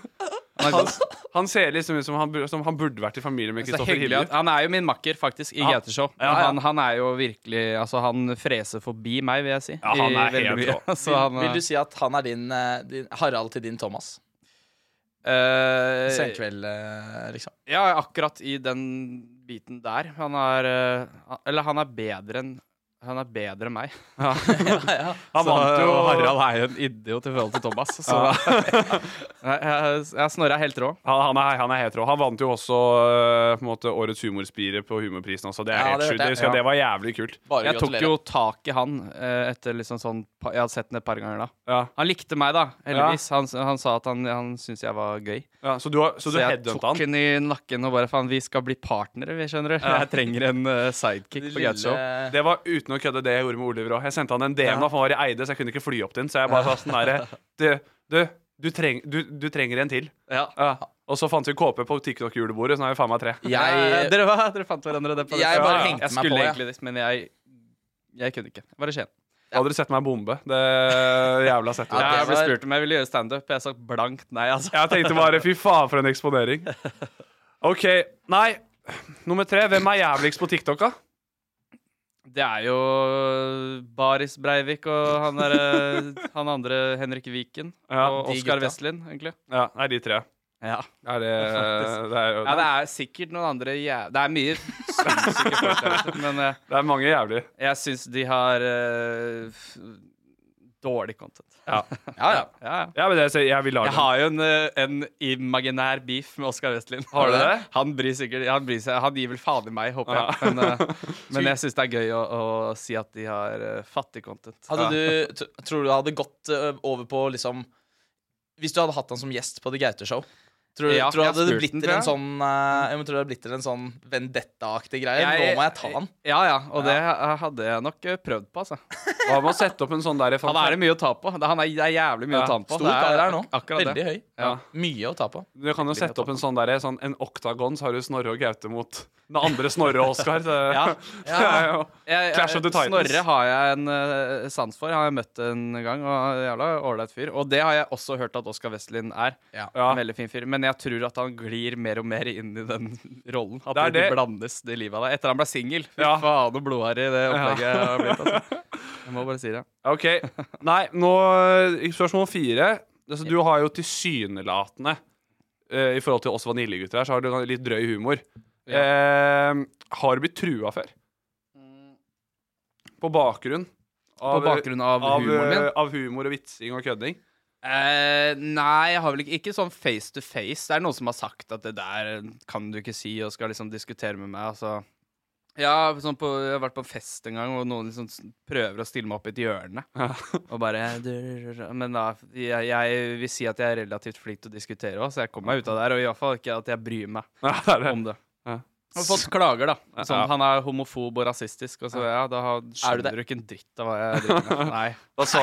han er god. Han ser liksom ut som han, bur- som han burde vært i familie med Så Kristoffer hyggelig Hivju. at Han er jo min makker, faktisk, i Ja. GT-show. Ja, ja. Han, han er jo virkelig Altså, han freser forbi meg, vil jeg si. Ja, han i er veldig helt mye. rå. (laughs) Så han, Vil du si at han er din, eh, din Harald til din Thomas? eh, Senkveld, eh, liksom. Ja, akkurat i den biten der. Han er eh, Eller han er bedre enn han er (laughs) bedre enn meg. Han vant jo og Harald er jo en idiot i forhold til (laughs) Thomas. Så (laughs) Nei, jeg, jeg, Snorre er helt rå. Han, han, er, han er helt rå. Han vant jo også eh, på en måte, årets humorspire på Humorprisen også. Det er Ja, helt det sjukt. hørte jeg. Det, skal- Ja. det var jævlig kult. Bare Jeg tok gratulerer. jo tak i han eh, etter liksom sånn pa- Jeg hadde sett den et par ganger da. Ja. Han likte meg, da, heldigvis. Han, han sa at han, han syntes jeg var gøy. Ja, så du, har- så Så, du jeg headhunta tok han? han i nakken og bare faen, vi skal bli partnere, vi, skjønner du. Jeg trenger en eh, sidekick på Gaucho. Eh, Det var uten å kødde det jeg gjorde med Oliver òg. Jeg sendte han en DM, da, for han var i Eide, så jeg kunne ikke fly opp til han. Så jeg bare sa sånn derre Du, du, du, treng, du, du trenger en til. Ja. Ja. Og så fant vi KP på TikTok-julebordet, så nå er vi faen meg tre. Eh, Jeg dere, var- dere fant hverandre det på det. Jeg bare Ja, ja. hengte jeg meg på, skulle ja. egentlig dit, men jeg, jeg kunne ikke. Bare Skien. Da hadde du sett meg bombe. Det jævla setter Ja, Jeg det ble var- spurt om jeg ville gjøre standup. Jeg sa blankt nei, altså. Jeg tenkte bare fy faen for en eksponering. OK. Nei. Nummer tre. Hvem er jævligst på TikTok, da? Det er jo eh, Baris Breivik og han, der, eh, han andre Henrik Viken. Ja, og de Oskar gutta. Vestlin, egentlig. Ja, det er de tre. Ja. Er det, Faktisk. det, er, jo- det er sikkert noen andre jæv... Det er mye sinnssyke folk der ute, men eh, det er mange jævlig. jeg syns de har eh, f- dårlig content. Ja. Ja, ja. Ja, ja. ja men det, så jeg vil lage Jeg har jo en, eh, en imaginær beef med Oskar Vestlin. Har du det? Han bryr sikkert Han, bryr seg, han gir vel faen i meg, håper jeg. Men, (laughs) eh, men jeg syns det er gøy å, å si at de Altså, har eh, fattig content. Hadde du, t- tror du det hadde gått ø, over på eh, liksom Hvis du hadde hatt han som gjest på The Gaute-show, tror du Ja, tror du jeg hadde det spurte blitt den, til en tror sånn eh, jeg tror det hadde blitt til en sånn vendetta-aktig greie? Nå må jeg ta han. Ja, ja, og det hadde jeg nok eh, prøvd på, altså. Hva med å sette opp en sånn der Han er det mye å ta på. Det- Han er, det er jævlig mye Ja, å ta på. stor Det er kar her nå. akkurat det. Veldig høy. Ja. Mye å ta på. Du kan jo sette opp en sånn der, sånn, en oktagon, så har du Snorre og Gaute mot den andre Snorre og Oskar. (laughs) Ja. Ja. Jeg- Clash of the Titans. Snorre har jeg en eh, sans for. Har jeg møtt en gang. Og jævla ålreit fyr. Og det har jeg også hørt at Oskar Westlin er. En veldig fin fyr. Men jeg tror at han glir mer og mer inn i den (laughs) rollen. At Det er det, det. blandes det livet av deg. Etter han ble singel. Fy Ja. faen og blodharry det opplegget Ja. har blitt. Altså. Jeg må bare si det. OK. Nei, nå i Spørsmål fire. Altså, du har jo tilsynelatende, eh, i forhold til oss vaniljegutter her, så har du litt drøy humor. Eh, har du blitt trua før? På bakgrunn På bakgrunn av eh, humoren min? Av humor og vitsing og kødding? Eh, nei, jeg har vel ikke, ikke sånn face to face. Det er noen som har sagt at det der kan du ikke si, og skal liksom diskutere med meg. Altså. Ja, sånn på, jeg har vært på en fest en gang, og noen liksom s- prøver å stille meg opp i et hjørne. (laughs) Og bare "Du-du-du-du." Men da, jeg, jeg vil si at jeg er relativt flink til å diskutere òg, så jeg kommer meg ut av der. Og i hvert fall ikke at jeg bryr meg om det. Jeg har fått klager, da. Sånn, Ja. Han er homofob og rasistisk. Og så, ja, da har- Er du det? skjønner du ikke en dritt av hva jeg driver (laughs) med. Nei. Da sa,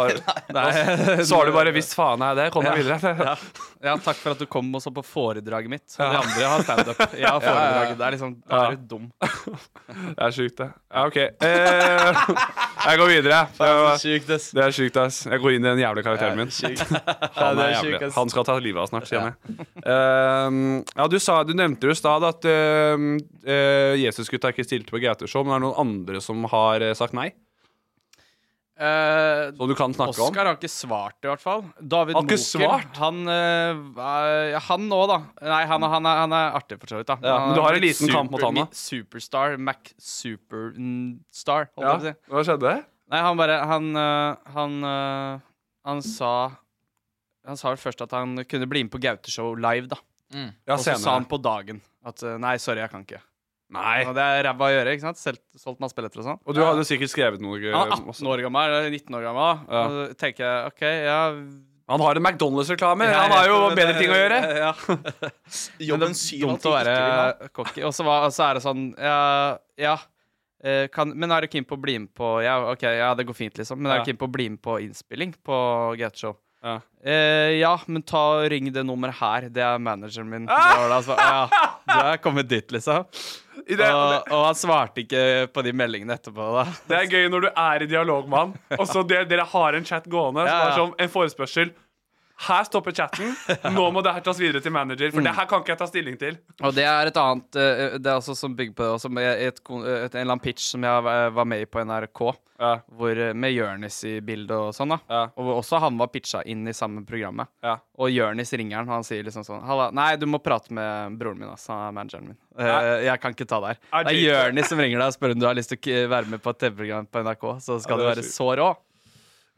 Nei. da sa du bare 'hvis faen er det', kom deg Ja. videre. ja. ja, takk for at du kom og så på foredraget mitt. Og de andre har (laughs) standup. Jeg har Ja, ja, ja. foredrag. Det er liksom Da er du dum. Det er sjukt, det. Ja, OK. Eh, jeg går videre. Det er sjukt, ass. Det er sjukt, ass. Jeg går inn i den jævla karakteren min. (laughs) Det er sjukt. Ja, Han, det er er jævlig. sjukt, ass. Han skal ta livet av snart, kjenner jeg. Eh, ja, du, sa, du nevnte jo i stad at uh, Jesusgutta ikke stilte på Gauteshow, men er det noen andre som har eh, sagt nei? Som du kan snakke om? Oskar Eh, har ikke svart, i hvert fall. David Har ikke Moker. svart? Han eh, er- han nå, da. Nei, han, han, er, han er artig, for så vidt. da Ja, Han men du er har en blitt liten kamp mot han, da. mi- Superstar. Mac Superstar, holdt Ja, jeg på å si. Hva skjedde? Nei, han bare Han øh, han, øh, han sa Han sa vel først at han kunne bli med på Gauteshow live, da. Mm. Ja, og så senere. sa han på dagen at øh, nei, sorry, jeg kan ikke. Nei. Og det er ræva å gjøre, ikke sant? Selv, solgt masse billetter og sånn. Og du hadde sikkert skrevet noe. eh, Han er 18 år gammel, eller 19 år gammel. Ja. Og så tenker jeg OK, ja Han har en McDonald's-reklame. Ja, Han har jo det- bedre ting å gjøre. (laughs) Ja. Men det Jobben er syv av dumt ti å ikke vil være cocky. Og så var- og så er det sånn Ja, ja eh, kan, men er du keen på å bli med på Ja, ok, ja, det går fint, liksom. Men er Ja. du keen på å bli med på innspilling på Gauteshow? Ja. Eh, ja, men ta ring det nummeret her. Det er manageren min. Ah! Det var da, så, ja, du er kommet dit, liksom. I (laughs) det- og, og han svarte ikke på de meldingene etterpå. da Det er gøy når du er i dialog med han, og så dere, dere har en chat gående. Ja, Som er ja. sånn en forespørsel. Her stopper chatten. Nå må det her tas videre til manager, for det her kan ikke jeg ta stilling til. Og det er et annet eh, Det er også som bygger på det også, med et, kon- et, en eller annen pitch som jeg var- var med i på NRK, hvor, eh, med Jørnis i bildet og sånn. da Og hvor også han var pitcha inn i samme programmet. Ja. Og Jørnis ringer han, og han sier liksom sånn Halla, nei, du må prate med broren min, ass. Han er manageren min. Eh, jeg kan ikke ta det her. Er Det er det- Jørnis som ringer deg og spør om du har lyst til å k- være med på et TV-program på NRK. Så Ja, skal du det er være så rå.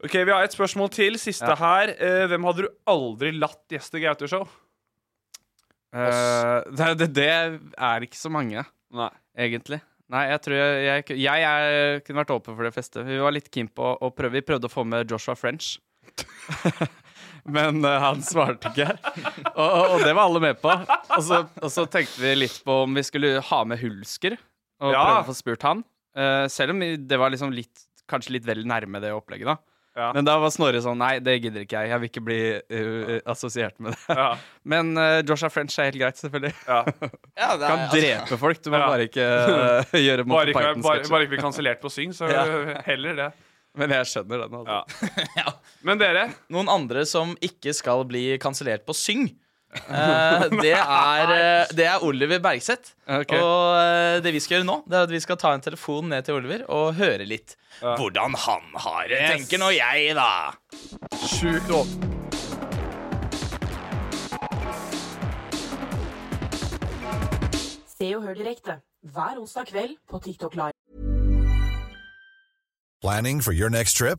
Ok, Vi har et spørsmål til. Siste Ja. her. Eh, hvem hadde du aldri latt gjeste Gaute-show? Eh, det, det, det er ikke så mange, Nei. egentlig. Nei, jeg tror jeg, jeg, ku- jeg, er- kunne vært åpen for det fleste. Vi var litt keen på å, å prøve. Vi prøvde å få med Joshua French. (laughs) Men eh, han svarte ikke. Og, og, og det var alle med på. Og så, og så tenkte vi litt på om vi skulle ha med Hulsker og prøve Ja. å få spurt han. Eh, selv om det var liksom litt, kanskje litt vel nærme det opplegget, da. Ja. Men da var Snorre sånn Nei, det gidder ikke jeg. Jeg vil ikke bli eh, assosiert med det. Ja. Men uh, Joshua French er helt greit, (laughs) selvfølgelig. (laughs) Ja, det er- altså, kan drepe folk. (laughs) Du må Ja. bare ikke eh, gjøre Bare Monty ikke, bare, Python-sketsjer. bare ikke bli kansellert på Syng, (laughs) så Ja. heller det. Men jeg skjønner den. Altså. Men dere? Noen andre som ikke skal bli kansellert på Syng. Eh, det, er, eh, det er Oliver Bergseth. Ok. Og eh, det vi skal gjøre nå, Det er at vi skal ta en telefon ned til Oliver og høre litt hvordan han har det. Tenker nå jeg, da. Sjukt å... Se og hør direkte hver onsdag kveld på TikTok Live. Planning for your next trip?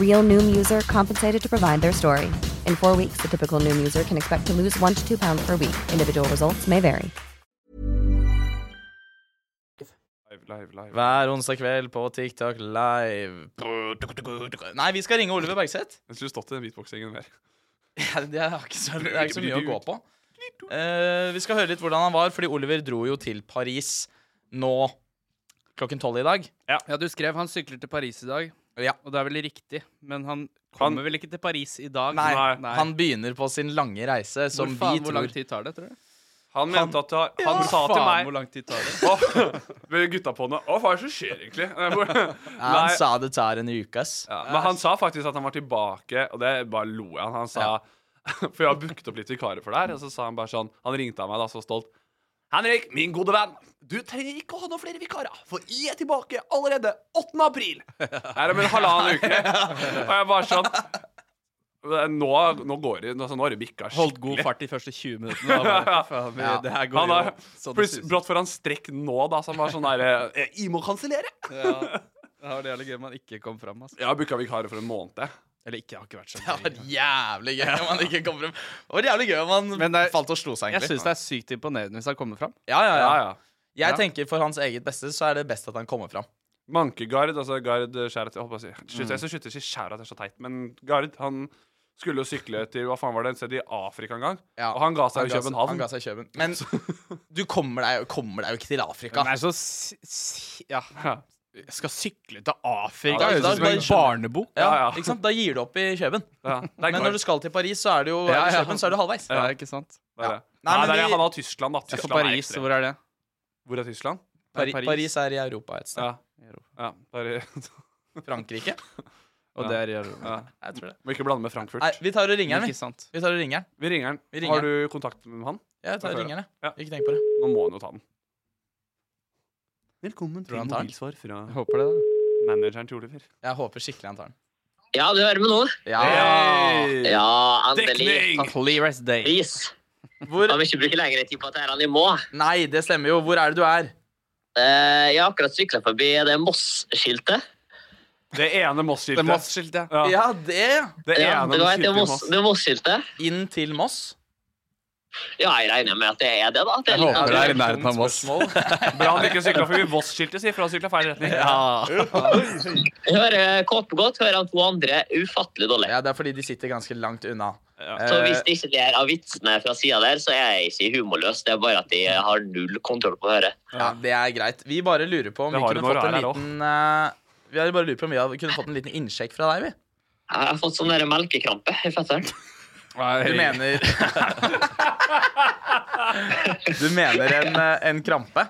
Real Noom user compensated to provide their story. In four weeks, the typical Noom user can expect to lose one to two pounds per week. Individual results may vary. Hver onsdag kveld på TikTok live. Nei, vi skal ringe Oliver Bergseth. Jeg skulle stått i den beatboxingen mer. Ja, det er ikke så, det er ikke så mye å gå på. Eh, vi skal høre litt hvordan han var, fordi Oliver dro jo til Paris nå klokken tolv i dag. Ja. du skrev han sykler til Paris i dag. Og det er vel riktig, men han kommer vel ikke til Paris i dag? Nei, han begynner på sin lange reise, som hvor, faen, vi hvor tror lang tid tar det, tror du? Han mente at Han, han sa faen, til meg Hvor lang tid tar det? Å, (laughs) med gutta på henne Å, hva er det som skjer, egentlig? (laughs) Nei, hvor- Han Nei, sa det tar en uke, ass. Men han sa faktisk at han var tilbake, og det bare lo jeg av. Han sa (laughs) For jeg har booket opp litt vikarer for det her, og så sa han bare sånn Han ringte av meg da, så stolt. Henrik, min gode venn, du trenger ikke å ha noen flere vikarer, for jeg er tilbake allerede 8. (laughs) april. Her om en halvannen uke. Og jeg bare sånn nå, nå går det altså, Nå har det bikka skikkelig. Holdt god fart de første 20 minuttene. (laughs) da bare, (laughs) Ja. faen, vi- det her går han har, jo så det plutselig- suser. Brått får han strekk nå, da, så han var sånn der (laughs) eh, Jeg må kansellere! Ja. Det var det jævlig gøy man ikke kom fram. Altså. Jeg har booka vikarer for en måned. jeg. Eller ikke, det har ikke vært sånn. Det var jævlig gøy om han ikke kom frem. Det var jævlig gøy om han falt og slo seg, Jeg egentlig. syns det er sykt imponerende hvis han kommer fram. Ja, ja, ja. Ja, ja. Jeg Ja. tenker for hans eget beste så er det best at han kommer fram. Mankegard, altså Gard Skjærat Jeg holdt på å si Mm. Slutt, jeg skal slutte å si Skjærat, det er så teit. Men Gard, han skulle jo sykle til Hva faen var det, et sted i Afrika en gang? og han ga seg i København. (laughs) Han ga seg i København. (laughs) Men du kommer deg, kommer deg jo ikke til Afrika. Men det er så si, si, ja. Jeg skal sykle til Afrika. Ja, det da- høres ut som da- en barnebok. Ja, Ikke sant? Da gir du opp i Kjøben. Men når du skal til Paris, så er du jo Ja, eller ja. Kjøben, så er du halvveis. Ja, ikke sant? Der, ja. Nei, Nei, men der, vi- han har Tyskland, da. Ja, for Tyskland Paris, hvor er det? Hvor er Tyskland? Pari Paris. er i Europa et sted. Ja. ja Pari- Frankrike. Og Ja. det er i Europa. Ja. Jeg tror det. (laughs) Må ikke blande med Frankfurt. Nei, vi tar og ringer han, Ikke vi. Vi tar og ringer han. Vi ringer han. Vi ringer Har du kontakt med han? Ja, jeg tar Fra før, ringeren, ja. Ikke tenk på det. Nå må han jo ta den. Velkommen Tror du han tar den? fra Jeg håper det, da. manageren til Oliver. Jeg håper skikkelig han tar den. Ja, du hører meg nå? Ja, Ja, endelig. Dekning! Clearest day. Pris. Hvor... Da må vi ikke bruke lengre tid på at jeg må. Nei, det stemmer jo. Hvor er det du er? Eh, Jeg har akkurat sykla forbi det Moss-skiltet. Det ene Moss-skiltet. Det Moss-skiltet. Ja. det. Det Ja, ene det var et skiltet i Moss- Moss. det Moss-skiltet. Inn til Moss? Ja, jeg regner med at det er det, da. at Det er Jeg litt- håper det er i Ja, nærheten av Moss. Bra han ikke sykla forbi Voss-skiltet, si, for han sykla feil retning. Jeg hører Kåpe godt, hører han to andre ufattelig dårlig. Ja, det er fordi de sitter ganske langt unna. Så Eh, hvis det ikke ler av vitsene fra sida der, så er jeg ikke humorløs. Det er bare at jeg har null kontroll på øret. Ja, det er greit. Vi bare lurer på om Det vi har kunne du når fått du en er her liten eh, Vi hadde bare lurer på om vi hadde, kunne fått en liten innsjekk fra deg, vi. Jeg har fått sånn der melkekrampe i fetteren. Du mener (laughs) Du mener en, eh, en krampe?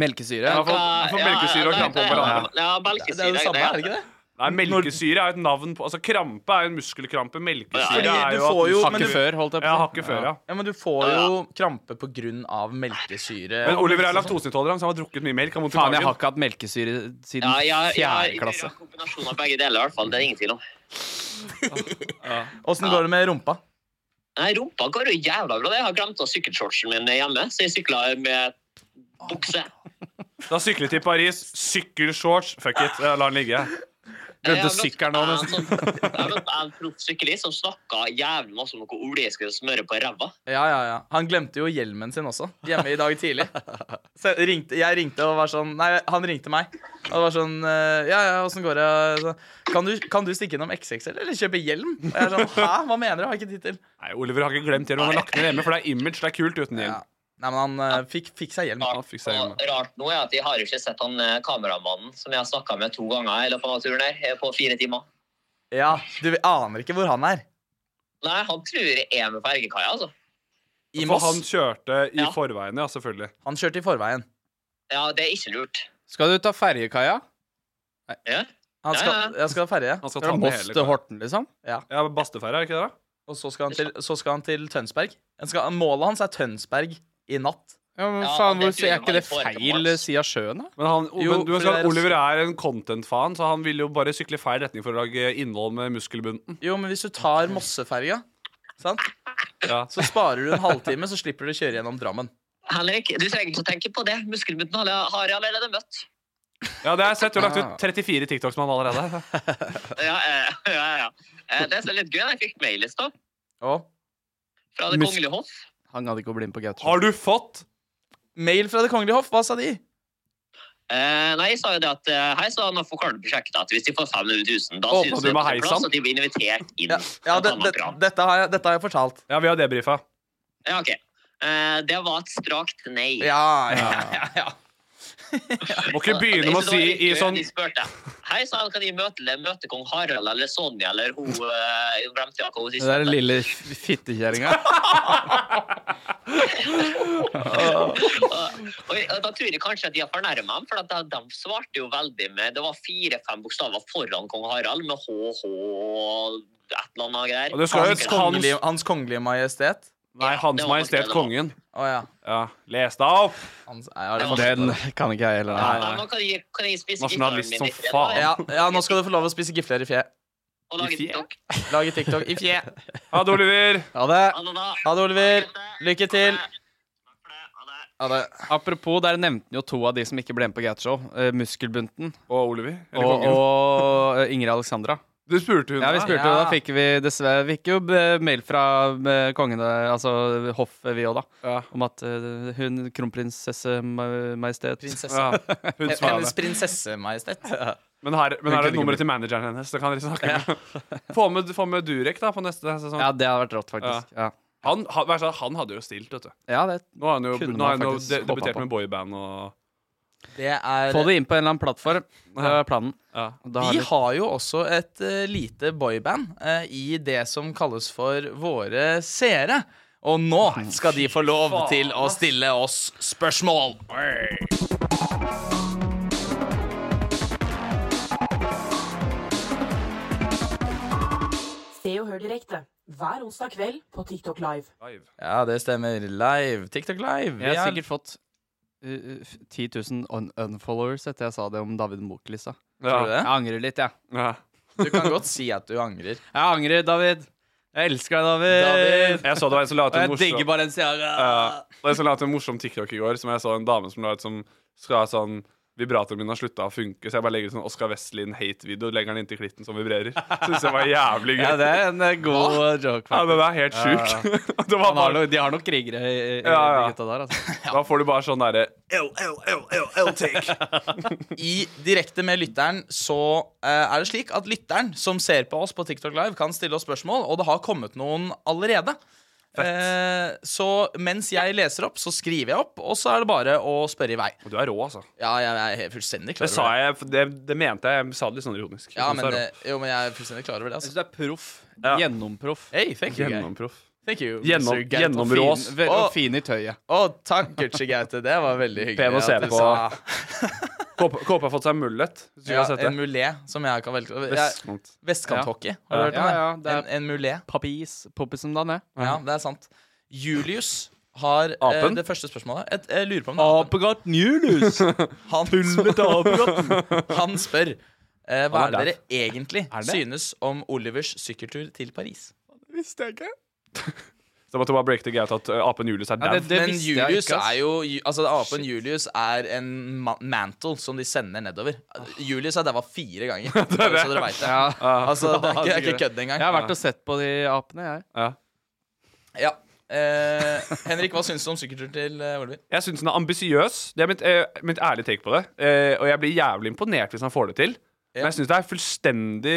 Melkesyre. Ja, for- for Ja, melkesyre og ja, krampe om ja, hverandre. Ja, Det er jo det samme, er det ikke det? Nei, Melkesyre er jo et navn på Altså, Krampe er jo en muskelkrampe. Melkesyre Fordi er du jo får jo- men Hakket du- før, holdt jeg på å si. Ja, hakket før, ja. Ja, Men du får jo krampe på grunn av melkesyre. Men Oliver er laktoseintolerant, så han har drukket mye melk. Han har vondt i Faen, jeg har magen. ikke hatt melkesyre siden Ja, ja, ja, fjerde jeg klasse. Kombinasjon av begge deler, i hvert fall. Det er det ingen tvil om. Åssen går det med rumpa? Nei, rumpa går jo jævla bra. det. Jeg har glemt av sykkelshortsen min hjemme, så jeg sykla med bukse. Da syklet til Paris. Sykkelshorts. Fuck it. eh, La den ligge. Glemte sykkelen òg, nesten. sånn- Jeg møtte en proffsyklist som snakka jævlig masse om noe olje jeg skulle smøre på ræva. Ja, ja, ja. Han glemte jo hjelmen sin også, hjemme i dag tidlig. (laughs) Så jeg ringte, jeg ringte og var sånn Nei, han ringte meg. Og det var sånn eh, Ja, ja, åssen går det? Så, Kan du, kan du stikke innom XXL eller kjøpe hjelm? Og jeg er sånn, Hæ, hva mener du? Har ikke tid til. Nei, Oliver har ikke glemt hjelm. Han har lagt ned hjemme, for det er image. Det er kult uten hjelm. Nei, men han eh, fikk, fikk seg hjelm. Han fikk seg hjelm. Rart nå er at jeg har jo ikke sett han eh, kameramannen som jeg har snakka med to ganger i løpet av turen her, eh, på fire timer. Ja, du aner ikke hvor han er. Nei, han tror jeg er med på Ergekaia, altså. For han kjørte i Ja. forveien, ja, selvfølgelig. Han kjørte i forveien. Ja, det er ikke lurt. Skal du ta ferjekaia? Ja. Han skal, Ja, ja. Jeg skal ha ferje. Han skal ta med hele kaia. Horten, liksom? Ja. ja Basteferja, er ikke det? Og så skal han til, så skal han til Tønsberg. Han skal, målet hans er Tønsberg i natt. Ja, men faen, hvor, er ikke det feil side av sjøen, da? Men, han, Jo, men du for husker det at er- Oliver er en content-fan, så han vil jo bare sykle feil retning for å lage innhold med (laughs) muskelbunten. Jo, men hvis du tar Mosseferja, sant? så sparer du en halvtime, så slipper du å kjøre gjennom Drammen. Henrik, du trenger ikke å tenke på det. Muskelbutten har jeg- har jeg allerede møtt. Ja, det har jeg sett. Du har lagt Ah. ut 34 TikToks med han allerede. Ja, eh, (laughs) ja, ja. Eh, Det som er litt gøy, jeg fikk mail i stad Å? fra Det Mus- kongelige hoff. Han hadde ikke å bli med på Gaute. Har du fått mail fra Det kongelige hoff? Hva sa de? Eh, nei, jeg sa jo det at eh, Hei, sa han, nå får Karl prosjektet at hvis de får 500 000, da Åpna synes du de med at det er heisan? plass, og de blir invitert inn. Ja, det, Blant annet det, Brann. dette, har jeg, dette har jeg fortalt. Ja, vi har debrifa. Ja, ok. Eh, det var et strakt nei. Ja, ja, ja. Må ikke begynne med å si i sånn De spurte Hei, sa han, kan de møte, møte kong Harald eller Sonja eller (laughs) hun eh, Jeg glemte jo hva hun Det der siste. lille f- fittekjerringa. Og, og da tror jeg kanskje at de har fornærmet dem, for at de, de svarte jo veldig med Det var fire-fem bokstaver foran kong Harald, med HH og et eller annet greier. hans, kongelige, hans kongelige majestet? Nei, Hans det var nok Majestet det det var. Kongen. Å ja. Ja, Les deg opp! Hans, ja, det var- Den kan ikke jeg heller. Ja, nå kan jeg, kan jeg spise Nasjonalist gitaren min i som fred, da, faen. jeg. Ja, ja, nå skal du få lov å spise gifler i fje. Og lage TikTok. Lage TikTok i fje. Ha det, Oliver. Ha det. Ha det, Oliver. Lykke til. Apropos, der nevnte han jo to av de som ikke ble med på Gateshow. Uh, muskelbunten. Og Oliver. eller Og, kongen. og eh, Ingrid Alexandra. Du spurte hun Ja, vi da. spurte Ja. Da fikk vi dessverre Vi fikk jo eh, mail fra eh, kongene, altså hoffet, vi òg, da. Om at eh, hun kronprinsesse ma- majestet Prinsesse. Ja, hun som er Hennes med. prinsessemajestet. Men her, men Hun her kunne er ikke nummeret bli- til manageren hennes. Det kan dere snakke med. (laughs) Få med, få med Durek da på neste sesong. Ja, det hadde vært rått, faktisk. Ja. Han, han, vær så snill, han hadde jo stilt, vet du. Ja, det Nå har han jo, kunne nå har man han jo faktisk de, håpet debutert på. med boyband og Det er Få det inn på en eller annen plattform. Det er planen. Da Vi det- har jo også et eh, lite boyband eh, i det som kalles for våre seere. Og nå skal de få lov faen, til å stille oss spørsmål. Se og hør direkte hver onsdag kveld på TikTok Live. Ja, det stemmer. Live. TikTok Live. Jeg har Vi er- sikkert fått uh, uh, f- 10 000 un unfollowers etter jeg sa det om David Mokelis. da. Tror du det? Jeg angrer litt, jeg. Du kan godt si at du angrer. Jeg angrer, David. Jeg elsker deg, David. Jeg så det var en som la ut en Og jeg digger Balenciaga. Ja, det var en som la ut en morsom TikTok i går, som jeg så en dame som la ut som skal ha sånn Vibratoren min har slutta å funke, så jeg bare legger ut sånn Oscar Westlin hate-video. Legger den inntil klitten som vibrerer. Syns jeg var jævlig gøy. Ja, det er en eh, god joke. Ja, den er helt Ja, sjuk. ja. (laughs) Det var Han har bare- noe- de har noen krigere i, i, i Ja, ja. de gutta der, altså. Da får du bare sånn derre I direkte med lytteren så eh, er det slik at lytteren som ser på oss på TikTok Live, kan stille oss spørsmål, og det har kommet noen allerede. Eh, så mens jeg leser opp, så skriver jeg opp, og så er det bare å spørre i vei. Og du er rå, altså. Ja, jeg er helt fullstendig klar Det sa jeg, for det, det mente jeg. Jeg sa det litt sånn ironisk. Ja, Jeg men, synes det er rå. eh, jo, men jeg er fullstendig klar over det. Altså. Jeg syns du er proff. Gjennomproff. Hey, thank you, guy. Gjennomproff. Thank you, Gjennom- Mr. Gaute. gjennområs. Fin- Ve- Å, Og fin i tøyet. å, takk, Gucci Gaute. Det var veldig hyggelig. Pen å se at du på. sa- Kåpe Kåpe har fått seg mullet. Hvis du ikke Ja, har sett en det. mulé, som jeg kan velge. Jeg- Vestkant. Vestkanthockey. Ja. Har du hørt om Ja, ja, det? En, en mulé. Papis. Poppisen da ned. Ja, det er sant. Julius har eh, Apen? det første spørsmålet. Et, jeg lurer på om det er apen. Apegatt Newlus! Han, (laughs) Tullete apegatt. han spør eh, hva Han er er det daud. dere egentlig Er det? (laughs) synes om Olivers sykkeltur til Paris. Visste jeg ikke. Det måtte bare break the gate at eh, apen Julius er Ja, dau. det- det men Julius (laughs) er jo Altså Apen Julius er en ma mantle som de sender nedover. Julius Ah. er dæva fire (laughs) ganger, bare så dere veit det. Altså, det er ikke, det er ikke kødd engang. Jeg har vært og sett på de apene, jeg. Ja. Eh, Henrik, hva syns du om sykkeltur til eh, Oliver? Jeg syns den er ambisiøs. Det er mitt, eh, mitt ærlige take på det. Eh, og jeg blir jævlig imponert hvis han får det til. Men jeg syns det er fullstendig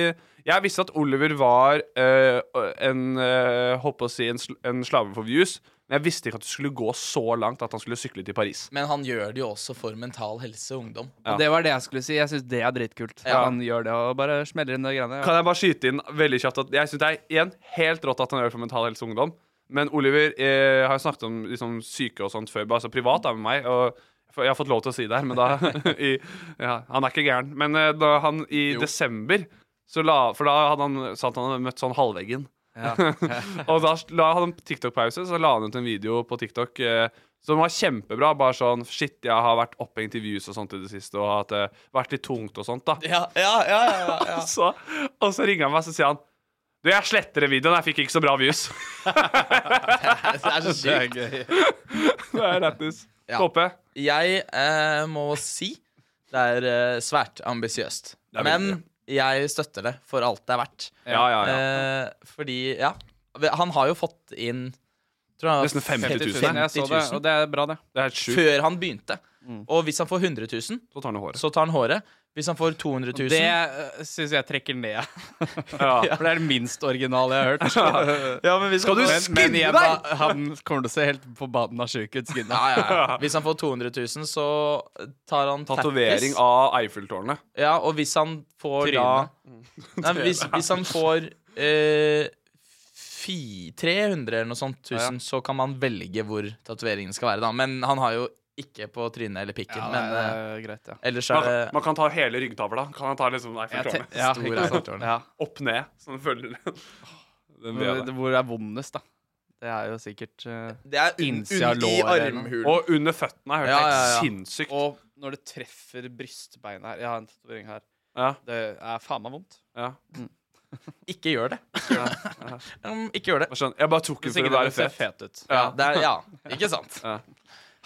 Jeg visste at Oliver var eh, en eh, Holdt på å si en, sl en slave for views. Men jeg visste ikke at det skulle gå så langt at han skulle sykle til Paris. Men han gjør det jo også for mental helse og ungdom. Og det var det jeg skulle si. Jeg syns det er dritkult. Ja. Han gjør det og bare smeller inn de greiene. Kan jeg bare skyte inn veldig kjapt at jeg syns det er igjen, helt rått at han gjør det for Mental Helse Ungdom. Men Oliver eh, har jo snakket om liksom, syke og sånt før, bare så privat da med meg. Og for- jeg har fått lov til å si det her, men da (laughs) i, ja, Han er ikke gæren. Men eh, da han i desember så la, For da hadde han, sa at han hadde møtt sånn halvveggen. Ja. (laughs) og da la han en TikTok-pause, så la han ut en video på TikTok eh, som var kjempebra. Bare sånn Shit, jeg har vært opphengt i views og sånt i det siste, og at det har vært litt tungt og sånt, da. Og (laughs) så, og så ringer han meg, så sier han Du, jeg sletter den videoen. Jeg fikk ikke så bra views. (laughs) (laughs) Det er så sykt. Det er lættis. Toppe. Jeg eh, må si det er eh, svært ambisiøst. Det er Men veldig, jeg støtter det for alt det er verdt. Ja, ja, Eh, fordi, ja Han har jo fått inn tror jeg, Nesten 50 000. 50 000. Jeg så det, og det er bra, det. Det er helt sjukt. Før han begynte. Og hvis han får 100 000, så tar han håret. Hvis han får 200 000 Det syns jeg trekker ned. (laughs) (laughs) Ja. For det er det minst originale jeg har (laughs) hørt. Ja, men hvis han- men, Men- men jeg deg?! ba- Han kommer til å se helt forbanna sjuk ut skinna. Ja, ja, ja. Hvis han får 200 000, så tar han Tatovering tattis. av Eiffeltårnet. Ja, og hvis han får Trynet. da Nei, men hvis, hvis han får eh, fi, 300 eller noe sånt tusen, Ja, ja. så kan man velge hvor tatoveringen skal være, da. Men han har jo ikke på trynet eller pikken. Ja, men nei, eh, det er greit, ja. ellers Man, er det kan- man kan ta hele ryggtavla. Kan han ta liksom Eiffeltårnet? Jeg te- ja, Stor ikke sant. Eiffeltårn. Ja. Opp ned, så den følger (laughs) Den vil jeg Hvor, det. hvor er vondest, da? Det er jo sikkert uh, Det er un- un- innsida av i låret. eller noe. armhulen. Og under føttene har jeg hørt helt sinnssykt. Eh, Og når det treffer brystbeinet her Jeg har en tatovering her. Det er faen meg vondt. Mm. Ikke gjør det. (laughs) Um, ikke gjør det. Sånn, jeg bare tok den Hvis for ikke å det være vil se fet. ut. Ja. Ja. det er, ja, ikke sant?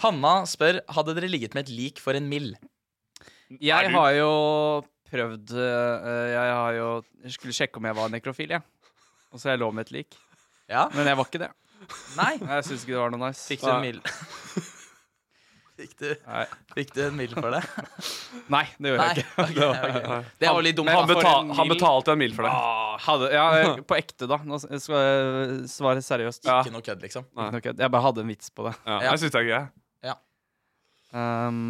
Hanna spør Hadde dere ligget med et lik for en mill. (laughs) Er Jeg du- har jo prøvd eh, Jeg har jo jeg skulle sjekke om jeg var nekrofil, jeg. Og så jeg lå med et lik. Men jeg var ikke det. Nei Jeg syns ikke det var noe nice. Fikk du en mill? Fikk du, fikk du en mill for (laughs) det? Nei, det gjorde Nei, jeg ikke. ok, ok. Det var litt dumt, Men da. for betal- en han mil- betalte en mil for det. Ah, hadde, ja, på ekte, da. Nå skal jeg svare seriøst. Ikke noe kødd, liksom. Ikke noe kødd. Jeg bare hadde en vits på det. Ja. jeg synes det er gøy. Ja. Um,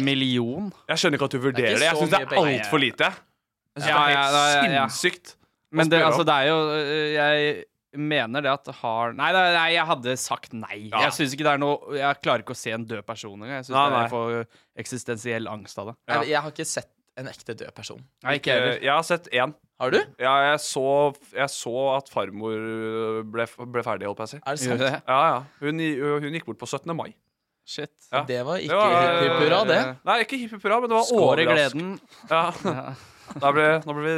en million? Jeg skjønner ikke at du Det er vurderer det. ikke Jeg så syns det mye er penger. altfor lite. Jeg synes det Ja, er ja, helt ja, ja, ja. sinnssykt. å Men det, spørre altså, om. det er jo øh, Jeg mener det at det har Nei, nei, nei jeg hadde sagt nei. Ja. Jeg synes ikke det er noe Jeg klarer ikke å se en død person engang. Jeg syns Nei, nei. jeg får eksistensiell angst av det. Jeg, jeg har ikke sett en ekte død person. Nei, ikke jeg (laughs) heller. Eh, Jeg har sett én. Har du? Ja, jeg så, jeg så at farmor ble, ble ferdig, holdt jeg på å si. Er det sant? Ja, ja. Hun, i- hun gikk bort på 17. mai. Shit. Ja. Det var ikke var- hipp, hipp hurra, eh, det. Nei, ikke hipp hipp hurra, men det var Skår i overrask- gleden. (laughs) Ja. Da ble, nå ble vi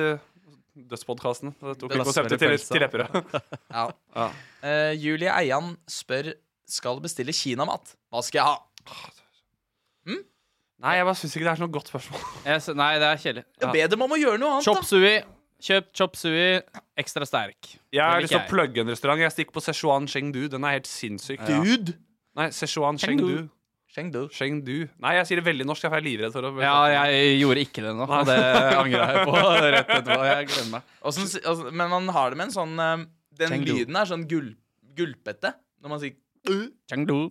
dødspodkasten. Det tok vi konseptet til, til (laughs) Lepperød. Ja. Eh, Julie Eian spør Skal bestille kinamat. Hva skal jeg ha? Nei, jeg bare syns ikke det er så noe godt (laughs) spørsmål. Jeg, sy- nei, det er kjedelig. Ja. Be dem om å gjøre noe annet, Chop sui. Kjøp chop sui ekstra sterk. Jeg har Det lyst til å liker jeg. plugge en restaurant. Jeg stikker på Sichuan Chengdu. Den er helt sinnssyk. Ja. Dude? Nei, Sichuan Chengdu. Chengdu. Chengdu. Nei, jeg sier det veldig norsk, jeg er livredd for å Ja, jeg gjorde ikke det nå, og det angrer (laughs) jeg på rett etterpå. Jeg gleder meg. Og så- altså, men man har det med en sånn eh, Den Chengdu. lyden er sånn gul, gulpete når man sier uh. Chengdu.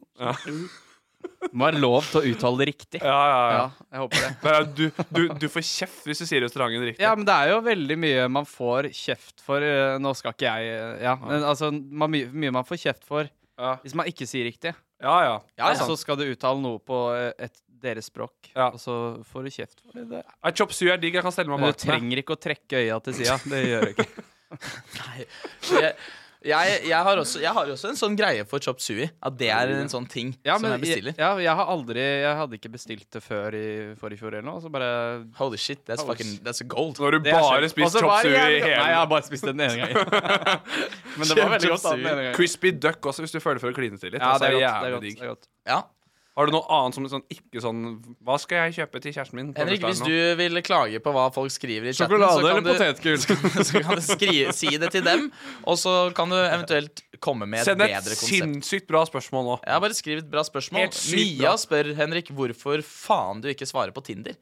Må være lov til å uttale det riktig. Ja, ja, ja. jeg håper det. Men Du, du, du får kjeft hvis du sier restauranten riktig. Ja, men det er jo veldig mye man får kjeft for. eh, Nå skal ikke jeg eh, Ja, men altså man, my- mye man får kjeft for hvis man ikke sier riktig. Ja, ja. Ja, Og så sant. skal du uttale noe på eh, et, deres språk, og så får du kjeft for det. det. Nei, Chop suey er digg. Jeg kan stelle meg Men du bak. den. trenger ikke å trekke øya til sida. Det gjør du ikke. jeg, Jeg, jeg, har også, jeg har også en sånn greie for chop sui. At det er en sånn ting (laughs) Ja, som men jeg bestiller. Jeg, ja, jeg har aldri Jeg hadde ikke bestilt det før i forrige fjor eller noe. og Så bare Holy shit, that's fucking- that's gold. Nå har du bare spist chop sui i hele- Nei, jeg har bare spist det den (laughs) ene gangen. men det var veldig godt. da, den ene gangen. Crispy duck også, hvis du føler for å kline til litt. Ja, altså, det er jævlig godt, det er digg. godt, det er godt. Har du noe annet som er sånn, ikke sånn Hva skal jeg kjøpe til kjæresten min? på Henrik, hvis bursdagen du nå? vil klage på hva folk skriver i chatten, Sjokolade så kan eller du- potetgull? (laughs) så kan du skri, si det til dem, og så kan du eventuelt komme med et Send bedre et konsept. sinnssykt bra spørsmål nå. Jeg har bare skrevet et bra spørsmål. Helt sykt Mia bra. spør Henrik hvorfor faen du ikke svarer på Tinder.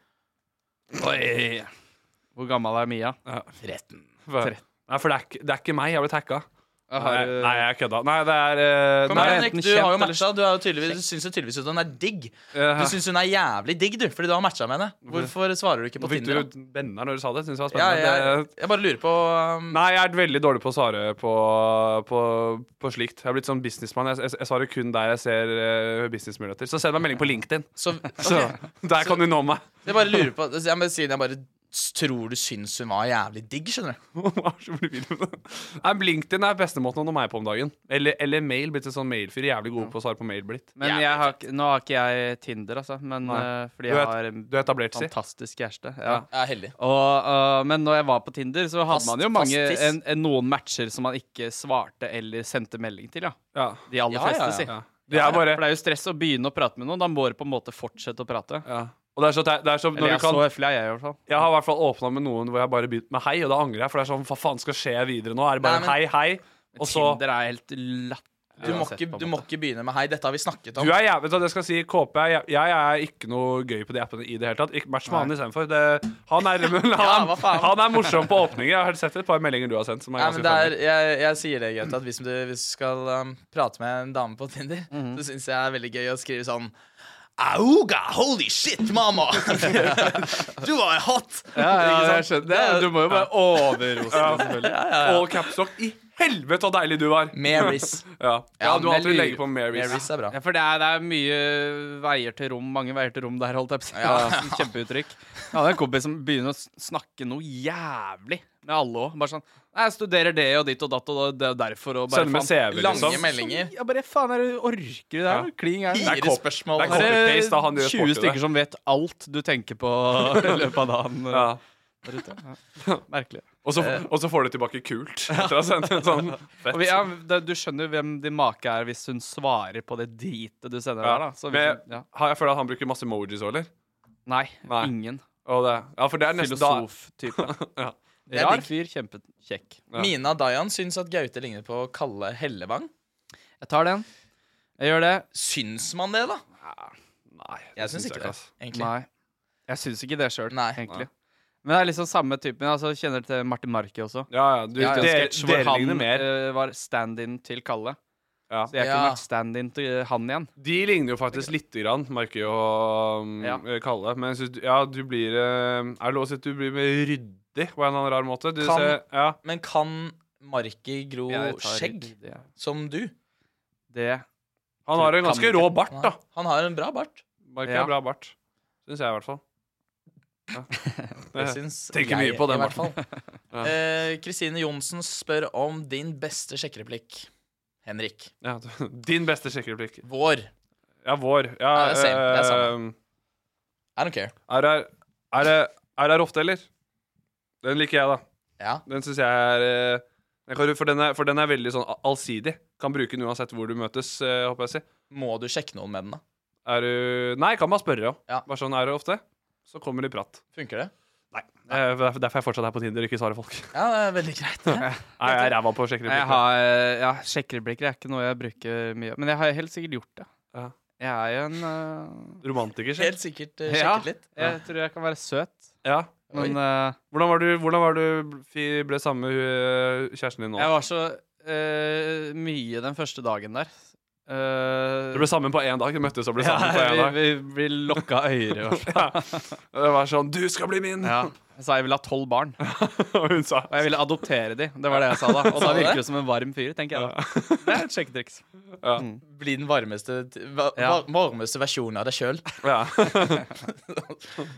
Oi. Eh. Hvor gammel er Mia? 13. Hva- Nei, for det er, ikke- det er ikke meg. Jeg ble tagga. Ja, Nei, har du- nei, jeg kødda. Nei, det er eh, Kom nei, igjen, enten Henrik, du har kjent jo eller- matcha. Du, er jo tydeligvis- du syns jo tydeligvis at hun er digg. Du Ja. syns hun er jævlig digg, du, fordi du har matcha med henne. Hvorfor svarer du ikke på Nå fikk Tinder? da? du venner når du sa det. Synes jeg var Ja, spennende. jeg, Det- jeg bare lurer på um, Nei, jeg er veldig dårlig på å svare på, på, på slikt. Jeg er blitt sånn businessmann. Jeg, jeg, jeg svarer kun der jeg ser eh, businessmuligheter. Så send meg melding på LinkedIn. Så der kan du nå meg. Jeg bare lurer på Jeg bare sier det, jeg bare s- tror du syns hun var jævlig digg, skjønner du. Nei, LinkedIn er beste måten å nå meg på om dagen. Eller, eller mail. Blitt en sånn mailfyr. Jævlig god på å svare på mail. blitt Men jeg har, ikke- nå har ikke jeg Tinder, altså. Men, Nei. eh, Du fordi jeg er- har du er etablert, si. fantastisk kjæreste. Ja. Ja. Jeg er heldig. Og, øh, men når jeg var på Tinder, så hadde Fast- man jo mange, fast tiss. en, en, noen matcher som man ikke svarte eller sendte melding til. Ja. Ja. De aller Ja, ja, fleste, ja. si. Ja. Det er bare- For det er jo stress å begynne å prate med noen. Da må du på en måte fortsette å prate. Og det er så, te- det er så når Eller du jeg kan, så høflig er jeg, i hvert fall. Jeg har i hvert fall åpna med noen hvor jeg bare begynte med hei, og da angrer jeg. For det er sånn, hva faen skal skje videre nå? Er det Nei, bare men- hei, hei? Og så Tinder er helt lapp. Du må, ikke, du må ikke begynne med 'hei, dette har vi snakket om'. Du er jævlig, vet du, det skal jeg si KP, jeg, jeg er ikke noe gøy på de appene i det hele tatt. Ikke match med han Nei. istedenfor. Det- Han, (laughs) er- Ja, han, hva faen? han er morsom på åpninger. Jeg har sett et par meldinger du har sendt. Som er Nei, men ganske det er, funny. jeg, jeg sier det, Gaute, at hvis du, hvis du skal um, prate med en dame på Tinder, så syns jeg det er veldig gøy å skrive sånn Auga, holy shit, mamma! (laughs) du var hot! Ikke sant? Du må jo bare overrose Ja. selvfølgelig. Og capstock. I helvete så deilig du var! (laughs) Marys. ja. ja, du har men jeg alltid lurer- legge på Marys. er bra. Ja, for det er, det er mye veier til rom, mange veier til rom der, holdt jeg på å si. (laughs) Ja. Ja. Kjempeuttrykk. Jeg hadde en kompis som begynner å s- snakke noe jævlig med alle òg. Bare sånn Nei, jeg studerer det og ditt og datt og det og derfor og bare Sender med CV, liksom. Lange meldinger. Ja, bare faen, er det orker du det her? Kling er Fire Det er cop- spørsmål. Det er copy-paste, da, han gjør 20 sport i det. stykker som vet alt du tenker (laughs) på i løpet av dagen. eh, Ja. Der ute. Ja. Merkelig. Og, så, Eh. og så får du tilbake kult. Etter å ha sendt en sånn fett. Og vi, ja, det, du skjønner hvem din make er hvis hun svarer på det dritet du sender Ja. der, da. Så hvis Men hun, ja. har- jeg føler at han bruker masse emojis òg, eller? Nei, ingen. Og det, ja, for det er nesten da- Filosof-type. (laughs) ja. Det er Rar digg. fyr, kjempekjekk. Mina Dayan syns at Gaute ligner på Kalle Hellevang. Jeg tar den. Jeg gjør det. Syns man det, da? Nei. Jeg syns ikke det, egentlig. Nei. Jeg syns ikke det sjøl, egentlig. Men det er liksom samme typen. Altså, kjenner du til Martin Marki også? Ja, ja, du- Det er en dere- sketsj hvor dere ligner han mer. eh, var stand-in til Kalle. Så jeg kunne Ja. vært stand-in til eh, han igjen. De ligner jo faktisk lite grann, merker jo um, eh, Kalle. Men jeg synes, du- ja, du blir eh, Er det lov å si at du blir mer ryddig på en eller annen rar måte? Du Kan- ser, ja. Men kan Marki gro Ja, jeg tar skjegg? riktig, ja. Som du? Det Han har en Kan ganske ikke. rå bart, da. Han har en bra bart. Merker Ja. bra bart. Syns jeg, i hvert fall. Ja. Det syns Tenker jeg, mye på den i hvert fall. barten. (laughs) Ja. Eh, Kristine Johnsen spør om din beste sjekkereplikk. Henrik. Ja, (laughs) din beste sjekkereplikk. Vår. Ja, vår. Ja, Ja, det er same. Det er samme. eh, I don't care. Er her, er her, er her ofte, eller? Den liker jeg, da. Ja. Den syns jeg er eh, jeg kan, for, den er, for den er veldig sånn a- allsidig. Kan bruke den uansett hvor du møtes, eh, håper jeg å si. Må du sjekke noen med den, da? Er du Nei, kan man spørre òg. Ja. Bare sånn er det ofte. Så kommer det prat. Funker det? Eh, derfor derfor jeg fortsatt er på Tinder og ikke svarer folk. Ja, det er veldig greit. det. (laughs) Nei, jeg er ræva på å sjekke Jeg replikker. har, eh, ja, sjekkereplikker er ikke noe jeg bruker mye. Men jeg har helt sikkert gjort det. Ja. Jeg er jo en øh, Romantiker. Helt sikkert eh, Ja, sjekket litt. jeg tror jeg kan være søt. Ja. Men øh, Hvordan var du, hvordan var du fi- ble sammen med hun, eh, kjæresten din nå? jeg var så øh, mye den første dagen der. Uh, Dere (laughs) ble sammen på én dag. Dere møttes og ble sammen på én ja, dag. vi, vi, vi lokka øyre. (laughs) Ja. Det var sånn 'Du skal bli min!' Ja. Jeg sa jeg ville ha tolv barn. (laughs) Og hun sa Og jeg ville adoptere de. Det var det jeg sa da. Og Sa da du virker det? du som en varm fyr, tenker jeg. da. Det er et sjekketriks. Ja. Mm. Bli den varmeste, t- va- Ja. var- varmeste versjonen av deg sjøl, Ja.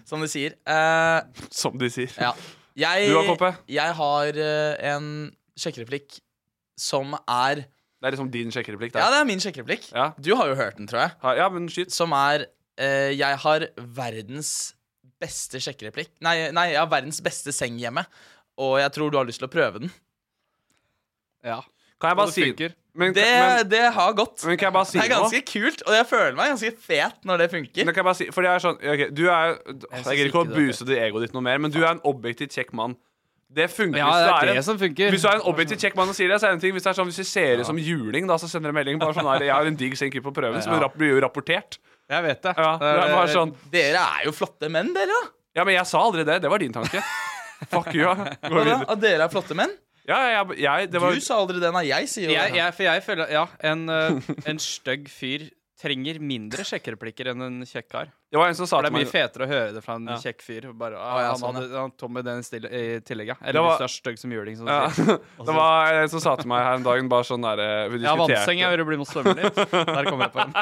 som de sier. Eh, Som de sier. ja. jeg, Du da, Koppe? jeg har eh, en sjekkereplikk som er Det er liksom din sjekkereplikk? Ja, det er min sjekkereplikk. Du har jo hørt den, tror jeg. Ja, men skyt. Som er eh, Jeg har verdens beste sjekkereplikk. Nei, nei, jeg har verdens beste seng hjemme, og jeg tror du har lyst til å prøve den. Ja. Kan jeg bare si det, det har gått. Men kan jeg bare si det er ganske noe? kult, og jeg føler meg ganske fet når det funker. Men kan jeg bare si, fordi jeg er sånn ok, Du er Jeg gidder ikke å booste det egoet ditt noe mer, men du er en objektivt kjekk mann. Det funker Ja, hvis det er du det en, som funker. Hvis du er en objektivt kjekk mann og sier det, så er det en ting. Hvis det er sånn, hvis du ser Ja. ut som juling, da, så sender du melding. Bare sånn her, 'Jeg har en digg senker på prøven', som Ja. rapp- blir jo rapportert. Jeg vet det. Eh, Ja, det er bare sånn Dere er jo flotte menn, dere, da. Ja, men jeg sa aldri det. Det var din tanke. Fuck you. Gå Hva da? videre. At dere er flotte menn? Ja, jeg, det var- Du sa aldri det, nei. Jeg sier jo Jeg, det. (laughs) jeg, for jeg føler Ja, en, eh, en stygg fyr trenger mindre sjekkereplikker enn en kjekk kar. Det var en som sa For det er til meg- mye fetere å høre det fra en Ja. kjekk fyr. og Bare, «Ah, Å, ja, han sånn, hadde han Tommy den stille, i tillegg, ja. Det Eller var- hvis du er stygg som juling. Som (laughs) Ja. (laughs) ja. Det var en som sa til meg her en dag bare sånn der eh, vi Jeg har diskuterte- vannseng, jeg hører det blir noe svømmelig. Der kommer jeg på den.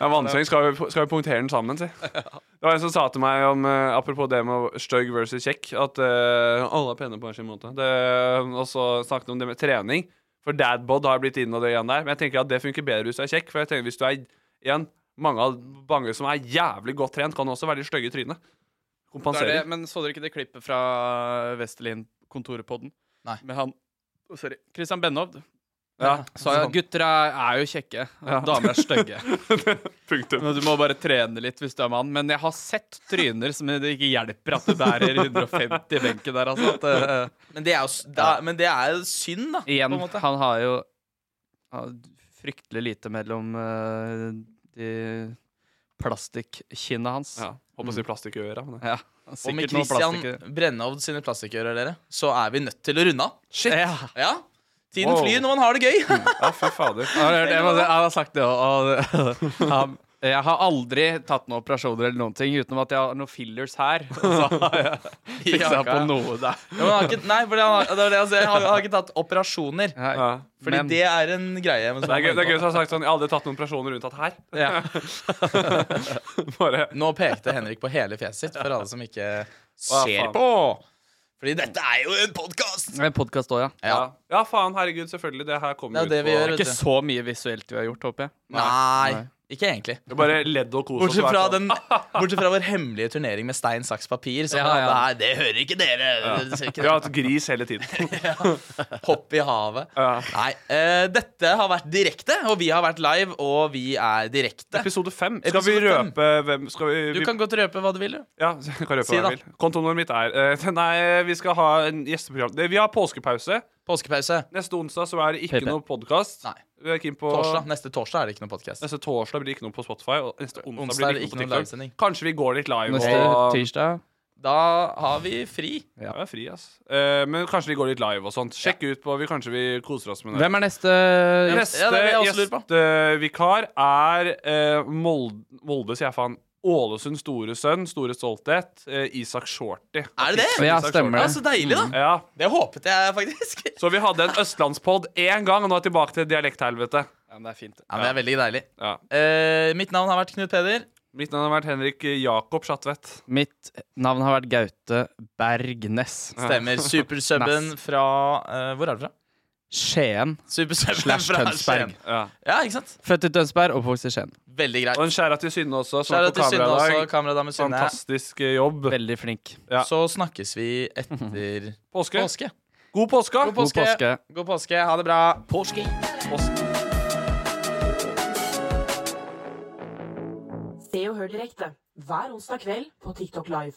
Ja, vannseng skal vi, skal vi punktere den (laughs) sammen, si. Det var en som sa til meg om eh, Apropos det med stygg versus kjekk, at eh, alle er pene på hver sin måte. Det, og så snakket om det med trening. For dadbod har blitt inn og det igjen der. Men jeg tenker at det funker bedre hvis du er kjekk. For jeg tenker hvis du er igjen mange av mange som er jævlig godt trent, kan også være litt stygge i trynet. Det er Kompenserer. det, men (laughs) så dere ikke det klippet fra Vestelin-kontoret-podden? Nei. Med han Sorry. Christian Benhovd. Ja, sa ja, sånn. gutter er, er jo kjekke, og Ja. damer er (laughs) stygge. Punktum. Men du må bare trene litt hvis du er mann. Men jeg har sett tryner som det ikke hjelper at du bærer 150 i benken der, altså. At, eh, Men det er jo s- da, men det er jo synd, da. Igjen, på en måte. han har jo har fryktelig lite mellom uh, de plastikkinna hans. Ja, håper å si plastikkøra. men det- Og Ja, med sikkert noe plastikk- Christian Brennovd sine plastikkører, dere, så er vi nødt til å runde av. Shit. Ja. Ja. Tiden Wow. flyr når man har det (laughs) gøy. (laughs) Ja, fy fader. Jeg har, hørt, jeg, må- jeg har sagt det (laughs) òg. Jeg har aldri tatt noen operasjoner eller noen ting utenom at jeg har noen fillers (laughs) her. Og så har jeg fiksa Ja, på ja. noe Ja, der. men han har ikke, nei, fordi han har, det var det jeg sa, han har ikke tatt operasjoner. Fordi men- det er en greie. men Det som er gøy, han har det er gøy som har sagt sånn Jeg har aldri tatt noen operasjoner unntatt her. (laughs) Bare Nå pekte Henrik på hele fjeset sitt, for alle som ikke ser faen. på. Fordi dette er jo en podkast! En podkast òg, ja. Ja. Ja, faen, herregud, selvfølgelig. Det her kommer Det er det vi på- gjør, Det er vet ikke så mye visuelt vi har gjort, håper jeg. Nei, ikke egentlig. Det er bare ledd og kos. Bortsett og så fra, er det den, bortsett fra vår hemmelige turnering med stein, saks, papir. Så Ja, ja. Det, her, det hører ikke dere! sånn. Dere ser Ja. ikke (laughs) Vi har hatt gris hele (laughs) tiden. Hopp i havet. Nei, eh, dette har vært direkte, og vi har vært live, og vi er direkte. Episode fem. Skal vi Episode fem. røpe hvem skal vi, Du vi, kan godt røpe hva du vil, du. Ja, (laughs) jeg kan røpe Si hva da. jeg vil. Kontonummeret mitt er eh, (laughs) Nei, vi skal ha en gjesteprogram. Det- Vi har påskepause. Påskepause. Neste onsdag så er det ikke PP. noe podkast. Vi er keen på Torsdag. Neste torsdag er det ikke noe podkast. Neste torsdag blir det ikke noe på Spotify, og neste onsdag, Onsdag blir det ikke noe på TikTok. livesending. Kanskje vi går litt live Neste og tirsdag Da har vi fri. Ja, vi er fri, ass. Eh, men kanskje vi går litt live og sånt. Sjekk ut på vi, Kanskje vi koser oss med det. Hvem er neste Neste Ja, det er det jeg også lurer på. gjestevikar er eh, Molde, Molde, sier jeg faen. Ålesunds store sønn, store stolthet, eh, Isak Shorty. Er det det? Isak Shorty. Ja, så deilig, da. Ja. Det håpet jeg faktisk. (laughs) Så vi hadde en østlandspod én gang, og nå er jeg tilbake til dialekthelvete. Ja, men det er fint. Ja, men Det er veldig deilig. Ja. Eh, mitt navn har vært Knut Peder. Mitt navn har vært Henrik Jakob Schatvedt. Mitt navn har vært Gaute Bergnes. Stemmer. (laughs) Supersubben Ness. fra eh, Hvor er du fra? Skien. Supersubben Slash fra Tønsberg. Skien. Ja, ikke sant? Født i Tønsberg, oppvokst i Skien. Veldig greit. Og en skjæra til Synne også, som Skjæra var på til Synne kamera i også, dag. kameradame Synne. Fantastisk eh, jobb. Veldig flink. Ja. Så snakkes vi etter (laughs) Påske. påske. God påske. God påske. God påske. Ha det bra. Påske. påske. Se og hør direkte hver onsdag kveld på TikTok Live.